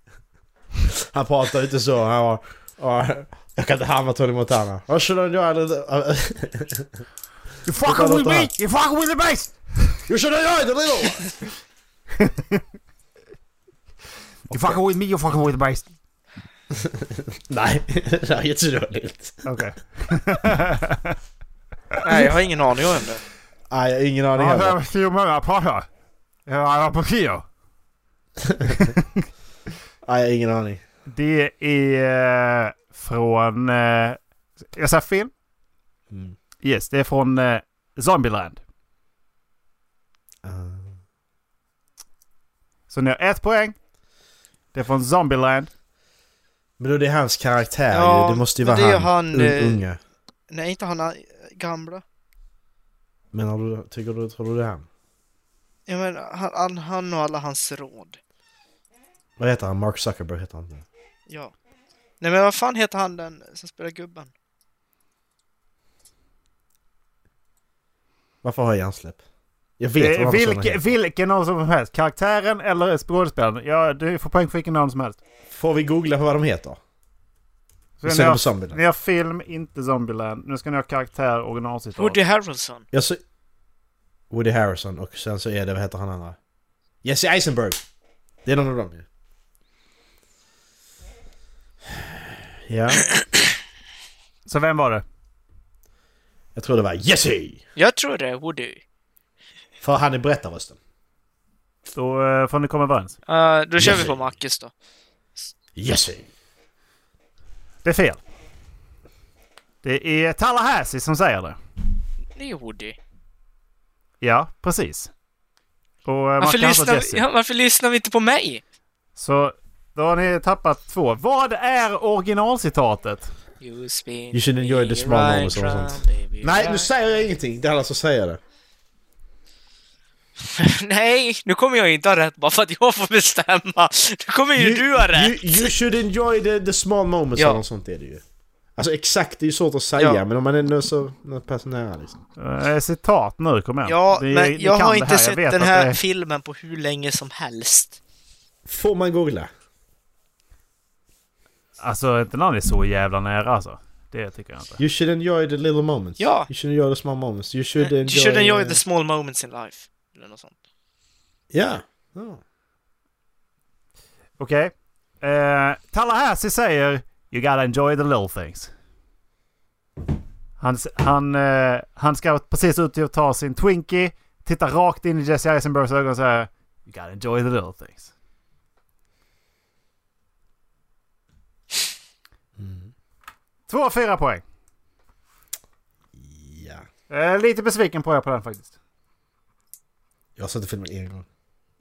Han pratar inte så. Han var, var, jag kan inte hamna Tony Montana. Vad skulle han göra?
You
Titta,
fucking with
låter
me!
här.
You fucking with the base!
You should enjoy the little one!
You fucking with me, you fucking with the base!
Nej, det här är jättedåligt.
Okej.
Nej, jag har ingen aning om det.
Nej, jag har ingen aning
Jag hör
heller.
hur många pratar. Jag var på Kio.
Nej, jag har ingen aning.
Det är eh, från... eh, Jag sa film?
Mm.
Yes, det är från eh, Zombieland.
Ah.
Så ni har ett poäng. Det är från Zombieland.
Men då det är hans karaktär
Ja,
ju. Det måste ju
men
vara
det är
han,
han,
un,
eh,
unga.
Nej, inte han eh, gamla.
Men har du, tycker du, tror du det? är?
Ja, men han, han, han och alla hans råd.
Vad heter han? Mark Zuckerberg heter han.
Ja. Nej men vad fan heter han den som spelar gubben?
Varför har jag hjärnsläpp? Jag vet
Eh,
vad den personen
vilke,
heter.
vilken av som helst. Karaktären eller skådespelaren. Ja, du får poäng för vilken av dem som helst.
Får vi googla på vad de heter?
Så
Vi
ni
ser dem på
har,
Zombieland.
ni har film, inte Zombieland. Nu ska ni ha karaktär, originalcitat.
Woody Harrelson.
Jag ser... Woody Harrison och sen så är det, vad heter han andra? Jesse Eisenberg! Det är någon av dem ju. Ja,
Så vem var det?
jag tror det var Jesse!
Jag tror det är Woody.
För han är berättarrösten.
Då eh, får ni komma överens.
Uh, då kör
Yes.
vi på Mackis då.
Jesse!
Det är fel. Det är Tallahassee som säger det.
Det är Woody.
Ja, precis. Och eh, man
Varför
kan alltså
lyssnar,
Jesse.
ja, varför lyssnar vi inte på mig?
Så då har ni tappat två. Vad är originalcitatet?
You, spin
You should enjoy
me
the small
right
moments och
round,
sånt.
baby,
Nej, nu
right.
säger jag ingenting. Det är alla som säger det.
Nej, nu kommer jag inte ha rätt bara för att jag får bestämma. Nu kommer ju du ha rätt.
You, you should enjoy the, the small moments
Ja.
eller något sånt är det ju. Alltså exakt, det är ju svårt att säga
Ja.
men om man är nu så något pass nära liksom.
Eh, citat nu, kom igen.
Ja,
Ni-
men
ni
jag
kan
har
det
inte
här. Jag
sett
vet
den
att
här
det är-
filmen på hur länge som helst.
Får man googla?
Alltså inte när han är så jävla nära alltså. Det tycker jag inte.
You should enjoy the little moments.
Ja.
You should enjoy the small moments. You should enjoy...
You should enjoy the small moments in life. Eller något sånt.
Ja. Ja.
Okej. Eh, Tallahassee säger You gotta enjoy the little things. Han, s- han, eh, han ska precis ut till att ta sin Twinkie, tittar rakt in i Jesse Eisenbergs ögon och säger You gotta enjoy the little things. Mm. Två av fyra poäng.
ja.
Eh, lite besviken på er på den faktiskt.
Jag har sett filmen en gång.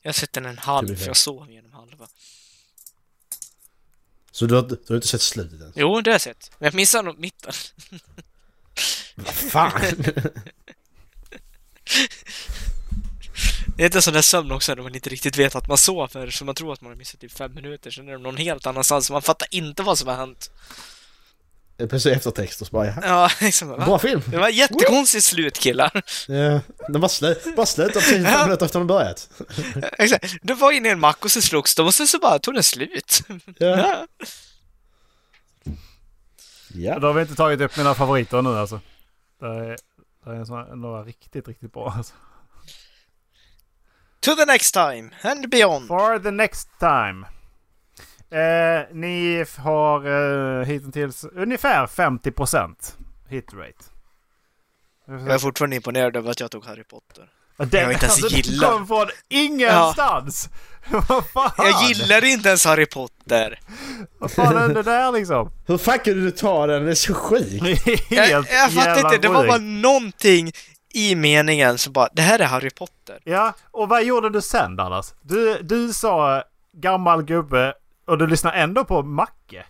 Jag har sett den en
Ska
halv,
vi se.
för jag sov genom halva.
Så du har, du har inte sett slutet än?
Jo, det har jag sett. Men jag missade nog mitten.
Fan!
Det är inte en sån där sömn också när man inte riktigt vet att man sover, så man tror att man har missat typ fem minuter, sen är det någon helt annanstans, så man fattar inte vad som har hänt.
Det är Precis eftertexter så bara ja.
Ja, liksom, va?
Bra film!
Det var jättekonstigt slut killar.
Ja. Den bara, slu, bara slutar precis fem minuter efter den börjat.
Exakt. Du var inne i en mack och så slogs de och sen så bara tog den slut.
Ja.
Ja.
ja.
Då har vi inte tagit upp mina favoriter nu alltså. Det är, det är en sån här, några riktigt, riktigt bra alltså.
To the next time and beyond.
For the next time. Eh, ni f- har eh, hittills ungefär 50% hit rate.
Jag är fortfarande imponerad över att jag tog Harry Potter.
Och det-
jag har inte ens
det
gillat.
Alltså, kom från ingenstans! Vad fan?
Jag gillar inte ens Harry Potter.
Vad fan hände där liksom?
Hur fan kunde du ta den? Det är så sjukt!
Helt
Jag, jag fattar
jävla
inte, det var
sjukt.
bara någonting i meningen som bara, det här är Harry Potter.
Ja, och vad gjorde du sen Dallas? Du, du sa gammal gubbe och du lyssnar ändå på Macke.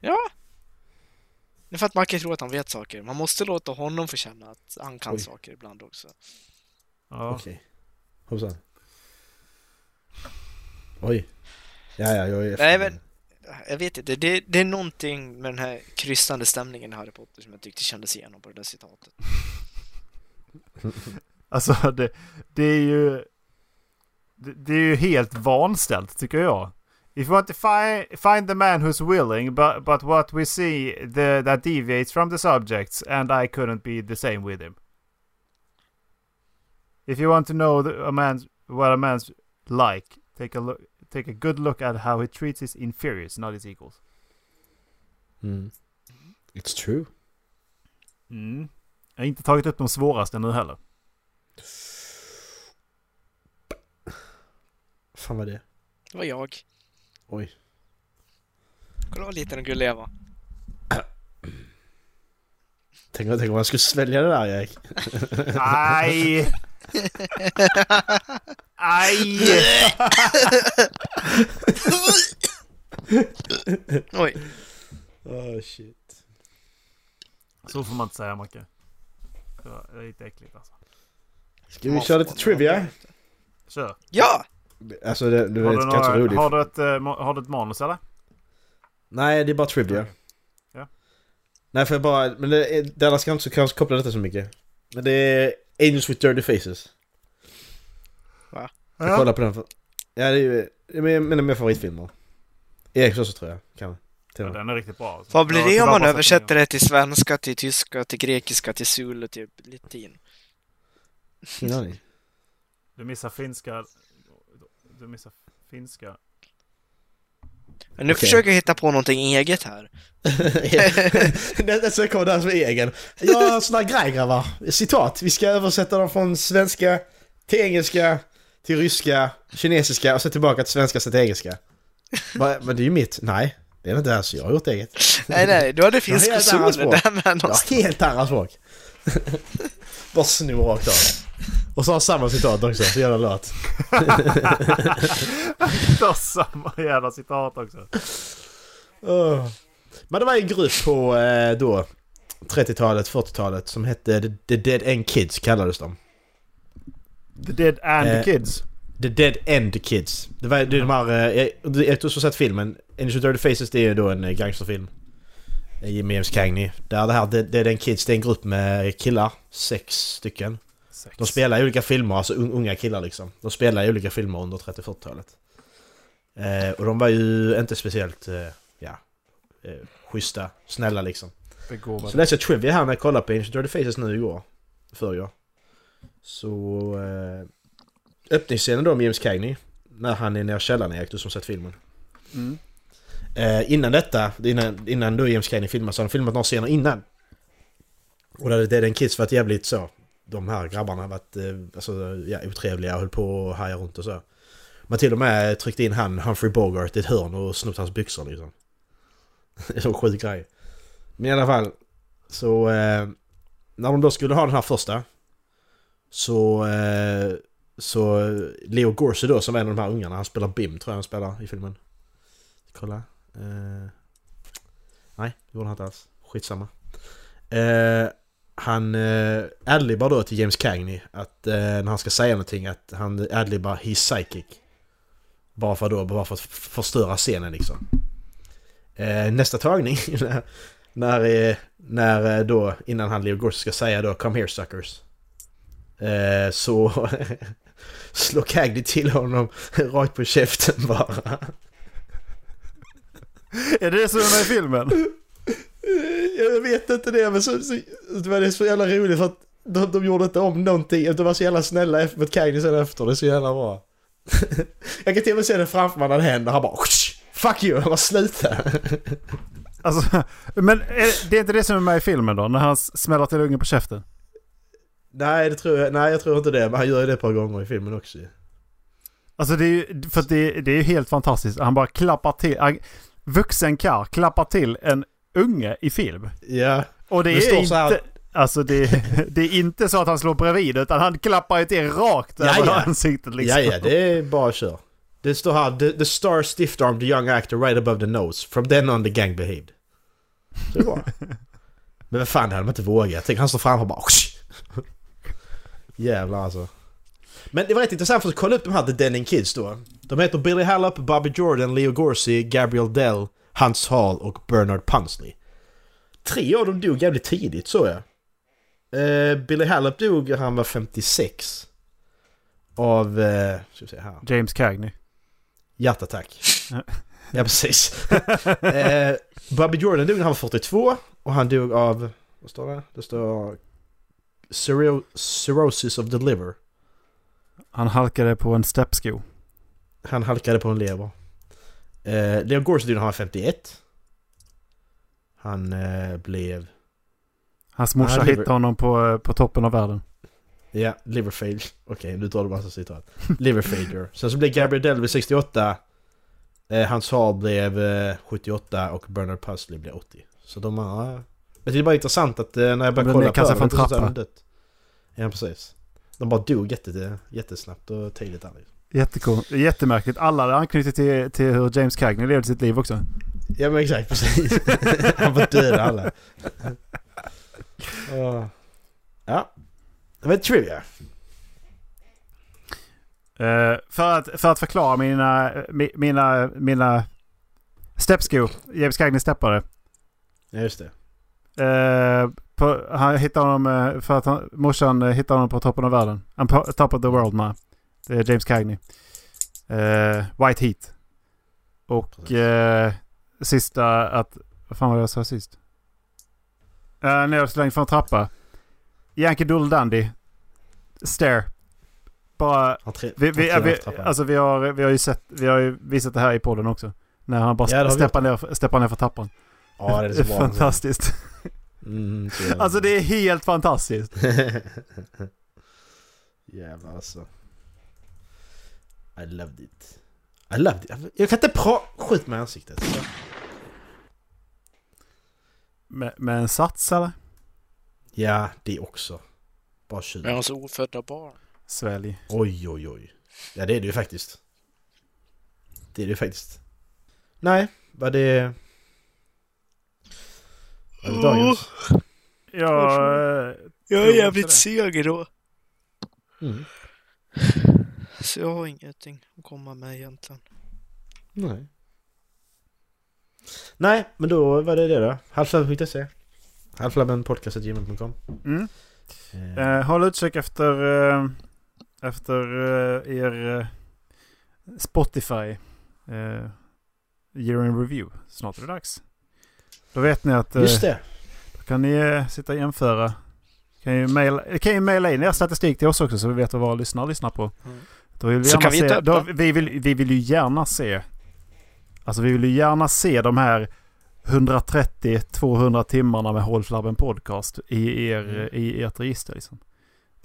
Ja. Det är för att man kan tro att han vet saker. Man måste låta honom få känna att han kan
Oj.
saker ibland också.
Ja.
Okej. Hoppsan. Oj. Ja, ja, jag är
Nej, men- Jag vet inte, det, det är någonting med den här kryssande stämningen i Harry Potter som jag tyckte kändes igenom på det där citatet.
Alltså det, det är ju... Det, det är ju helt vanställt tycker jag. If you want to fi find the man who's willing but, but what we see the, that deviates from the subjects and I couldn't be the same with him. If you want to know the, a man's, what a man's like take a, look, take a good look at how he treats his inferiors not his equals.
Mm. It's true.
Mm. Jag har inte tagit upp de svåraste nu heller.
Fan vad det är.
Det var jag.
Oj.
Kolla vad liten och gullig jag var.
Tänk, tänk om man skulle svälja det där Erik.
Aj! Aj!
Oj.
Oh shit.
Så får man inte säga Macke. Det var lite äckligt alltså.
Ska vi köra lite trivia?
Kör.
Ja!
Alltså det, det
Har
är
du,
kanske roligt.
några, har, du ett, eh, ma- har du ett manus eller?
Nej, det är bara trivia.
Ja.
Nej, för jag bara... Men det, är- Dallas ska inte så- kanske koppla detta så mycket. Men det är Angels with Dirty Faces. Jag kollar på den för... Ja, det är ju... Det är min- mina mina favoritfilmer. Eriks också tror jag. Kan.
Ja, den är riktigt bra. alltså.
Vad blir
Jag
det
ska
om
bara
man
passa på-
översätter det till svenska, till tyska, till grekiska, till zulu, till latin?
Ingen aning.
Du missar finska. Du missar finska.
Men nu
Okej.
försöker jag hitta på någonting eget här.
Nästa så kommer den som är egen. Jag har en sån där grej grabbar. Citat. Vi ska översätta dem från svenska till engelska, till ryska, kinesiska och så tillbaka till svenska, sen till engelska. Va, Men det är ju mitt. Nej, det är det inte alls. Jag har gjort eget.
Nej, nej, du hade finsk
helt
och zulu
annat språk.
där med
Jag
någonstans.
har helt andra språk. Bara snor rakt av. Och så har jag samma citat också, så jävla lat.
Du har samma jävla citat också.
Åh. Men det var en grupp på eh, då 30-talet, 40-talet som hette The- The Dead End Kids kallades de.
The Dead and
Eh,
Kids.
The Dead End Kids. Det var det är de här... eh, Jag jag tror du har sett filmen. Angels with Dirty Faces det är ju då en eh, gangsterfilm. Eh, Med James Cagney. Där det här The Dead End Kids, det är en grupp med killar. Sex stycken.
Sex.
De spelar i olika filmer, alltså un- unga killar liksom. De spelar i olika filmer under 30-40-talet. Eh, och de var ju inte speciellt, eh, ja, eh, schyssta, snälla liksom. Så
Begåvade.
läste jag Trivia här när jag kollade på Ancient Dirty Faces nu igår. Förrgår. Så... Eh, öppningsscenen då med James Cagney. När han är nere i källaren Erik, du som sett filmen.
Mm.
Eh, innan detta, innan, innan då James Cagney filmade, så har han filmat några scener innan. Och där hade den Kids varit jävligt så. De här grabbarna har varit eh, alltså, ja, otrevliga och höll på och hajade runt och så. Man till och med tryckte in han, Humphrey Bogart, i ett hörn och snott hans byxor liksom. Det är så sjuk grej. Men i alla fall. Så eh, när de då skulle ha den här första så, eh, så Leo Gorsi då som är en av de här ungarna, han spelar Bim tror jag han spelar i filmen. Kolla. Eh, nej, det gjorde han inte alls. Skitsamma. Eh, han eh, adlibbar då till James Cagney att eh, när han ska säga någonting att han adlibbar “He's psychic”. Bara för, då, bara för att f- förstöra scenen liksom. Eh, nästa tagning när, eh, när eh, då, innan han Leo Gorsi ska säga då “Come here suckers” eh, så slår Cagney till honom rakt på käften bara.
Är det det som är med i filmen?
Eh, Jag vet inte det, men så, så, det var så jävla roligt för att de, de gjorde inte om någonting. De var så jävla snälla efter- mot Cagney sen efter, det är så jävla bra. Jag kan till och med se det framför mig när det händer, han bara Fuck you, han bara sluta.
Alltså, men är, det är inte det som är med i filmen då? När han s- smäller till ungen på käften?
Nej, det tror jag, nej, jag tror inte det, men han gör ju det ett par gånger i filmen också ju.
Alltså det är ju, för att det, det är ju helt fantastiskt. Han bara klappar till. Han, vuxen karl klappar till en unge i film.
Ja.
Och det
Det står
är
så här-
inte... Alltså det, det är inte så att han slår bredvid utan han klappar ju till rakt
Ja,
över
ja.
ansiktet liksom.
Ja, ja, det är bara kör. Det står här, the, the star stiffed armed the young actor right above the nose. From then on the gang behaved. Så det är bra. Men vad fan, det hade man inte vågat. Tänk, han står framför och bara... Jävlar alltså. Men det var rätt intressant för att kolla upp de här The Denning Kids då. De heter Billy Hallop, Bobby Jordan, Leo Gorsi, Gabriel Dell, Hans Hall och Bernard Punsley. Tre av dem dog jävligt tidigt såg jag. Eh, Billy Hallop dog, när han var 56. Av, eh, ska vi se här.
James Cagney.
Hjärtattack. ja, precis. eh, Bobby Jordan dog när han var 42 och han dog av, vad står det? Det står cirro- cirrhosis of the liver.
Han halkade på en steppsko.
Han halkade på en lever. Eh, Leo Gorsi dog när han var 51. Han eh, blev,
Hans morsa
Han lever-
hittade honom på, eh, på toppen av världen.
ja, liver failure. Okej, nu drar du massa citat. Liver failure. Sen så blev Gabriel Dell vid 68. Eh, Hans Hall blev eh, 78 och Bernard Pusley blev 80. Så de har... Men det är bara intressant att eh, när jag
De
började
blev
kolla på
nedkastade från
det, det är så att
trappa.
de dött. Ja, precis. De bara dog jätte, jättesnabbt och tidigt där liksom.
Jättekon- Jättemärkligt. Alla hade anknutit till, till hur James Cagney levde sitt liv också.
Ja men exakt, precis. Han var död alla. Ja. Det var ett trivia.
Eh, för, att, för att förklara mina, mi, mina, mina steppskor. James Cagney steppade.
Ja, just det.
Eh, på, han hittade honom eh, för att han, morsan eh, hittade honom på toppen av världen. Han på top of the world man. Det är James Cagney. Eh, White Heat. Och
Precis.
eh, sista att... Vad fan var det jag sa sist? Eh, när jag slängde från en trappa. Yankee Doodle Dandy. Stare. Bara...
Han tre,
Vi, vi,
han
vi,
trappan.
alltså vi har, vi har ju sett, vi har ju visat det här i podden också. När han bara
Ja, det har vi
steppar, ner, steppar ner för trappan.
ja, det är så bra.
Fantastiskt.
Mm, så jävla-
Alltså det är helt fantastiskt.
Jävlar alltså. I loved it. I loved it. Jag kan inte prata... Skjut mig i ansiktet.
Med, med en sats eller?
Ja, det också. Bara tjuv.
Med hans ofödda barn.
Svälj.
Oj, oj, oj. Ja, det är det ju faktiskt. Det är det ju faktiskt. Nej, vad det... Vad är det dagens?
Ja, eh, Jo,
Jag är
så
jävligt
det.
seg idag.
Mm.
Så jag har ingenting att komma med egentligen.
Nej. Nej, men då var det det då. Halflabben.se Halflabbenpodcast.gmail.com
mm.
eh,
eh, håll utkik efter, eh, efter eh, er eh, Spotify eh, Year in Review. Snart är det dags. Då vet ni att eh,
Just det!
då kan ni eh, sitta och jämföra. Kan ju maila, kan ju maila in er statistik till oss också så vi vet vad våra lyssnare lyssnar på.
Mm.
Då vill vi,
Så
gärna
kan vi
se,
inte
då,
öppna?
vi, vill, vi vill ju gärna se... Alltså vi vill ju gärna se de här 130-200 timmarna med Håll Flabben Podcast i, er, eh,
Mm.
i ert register. Liksom.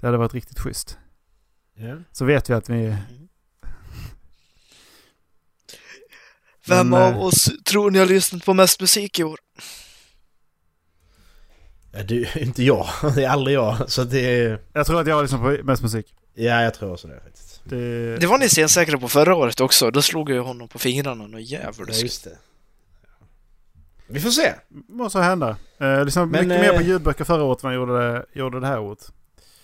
Det hade varit riktigt schysst.
Ja.
Så vet vi att vi...
Mm.
Vem
Men, eh,
av oss tror ni har lyssnat på mest musik i år?
Ja, det är ju inte jag. Det är aldrig jag. Så det är...
Jag tror att jag har lyssnat på mest musik.
Ja, jag tror också det faktiskt.
Det,
eh,
Det var ni sensäkra på förra året också. Då slog jag ju honom på fingrarna och
Ja,
djävulskt.
just det. Vi får se!
må så hända. Eh, lyssnade
Men,
mycket mer på
eh,
ljudböcker förra året än vad jag gjorde det, gjorde det här året.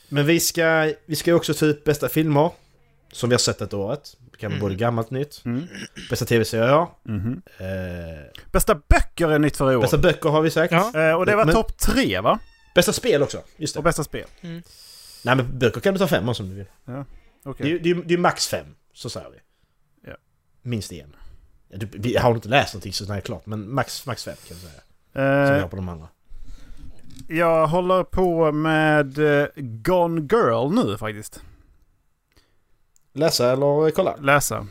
Men vi ska, vi ska ju också ta ut bästa filmer. Som vi har sett ett året. Det kan vara
Mm.
både gammalt och nytt.
Mm.
Bästa tv-serier.
Mhm.
Eh,
Bästa böcker är nytt för i år.
bästa böcker har vi sagt.
Ja.
Eh, och det var
Men-
topp tre va?
Bästa spel också. Just det.
Och bästa spel.
Nej men böcker kan du ta fem av som du vill. Det är
Okej.
ju det är, ju- det är max fem. Så säger vi.
Ja.
Minst en. Ja, du, vi har inte läst någonting så det är klart. Men max, max fem kan vi säga. Som vi
Eh,
har på de andra.
Jag håller på med eh, Gone Girl nu faktiskt.
Läsa eller kolla?
Läsa.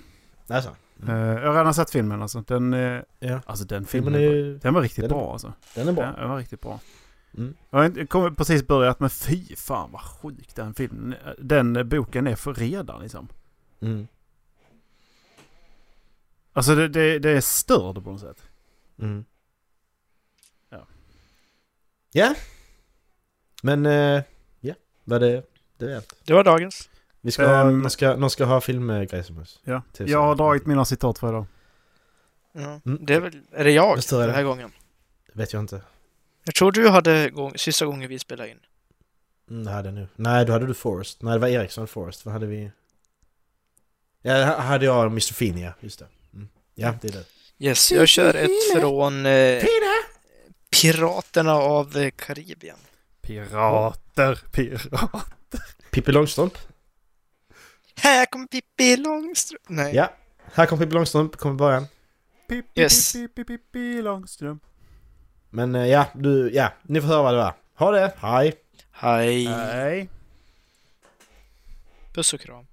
Läsa.
Eh, Jag har redan sett filmen alltså. Den, eh,
Ja.
alltså den filmen
Filmen
är
är
bra.
ju...
Den var riktigt
den är
bra alltså.
Den är bra.
Den var riktigt bra.
Mm.
Jag har inte- kom precis börjat men fy fan vad sjuk den filmen Den eh, boken är för redan liksom.
Mm.
Alltså det, det, det är störd på något sätt.
Mm.
Ja.
Ja. Men, eh, ja. Vad det, det är allt.
Det var dagens.
Vi ska ha,
Ehm.
någon, ska, någon ska ha filmgrejer som oss.
Ja.
Tusen.
Jag har dragit mina citat för idag.
Ja.
Mm.
Det är väl... Är det jag
Jag tror det.
den här gången?
Vet jag inte.
Jag tror du hade gång, sista gången vi spelade in.
Mm, det hade jag nu. Nej, då hade du Forrest. Nej, det var Eriksson Forrest. Vad hade vi? Ja, ha- hade jag Mr. Finn, ja. Just det. Mm. Ja, det är det.
Yes, jag kör ett från eh, Piraterna av eh, Karibien.
Pirater, pirater.
Pippi Långstrump.
Här kommer Pippi Långstrump. Nej.
Ja. Här kommer Pippi Långstrump, kommer i början.
Pip,
Yes.
pip, pip, pip, pip, Långstrump.
Men eh, ja, du, ja. Ni får höra vad det var. Ha det! Hej!
Hej.
Nej.
Puss och kram.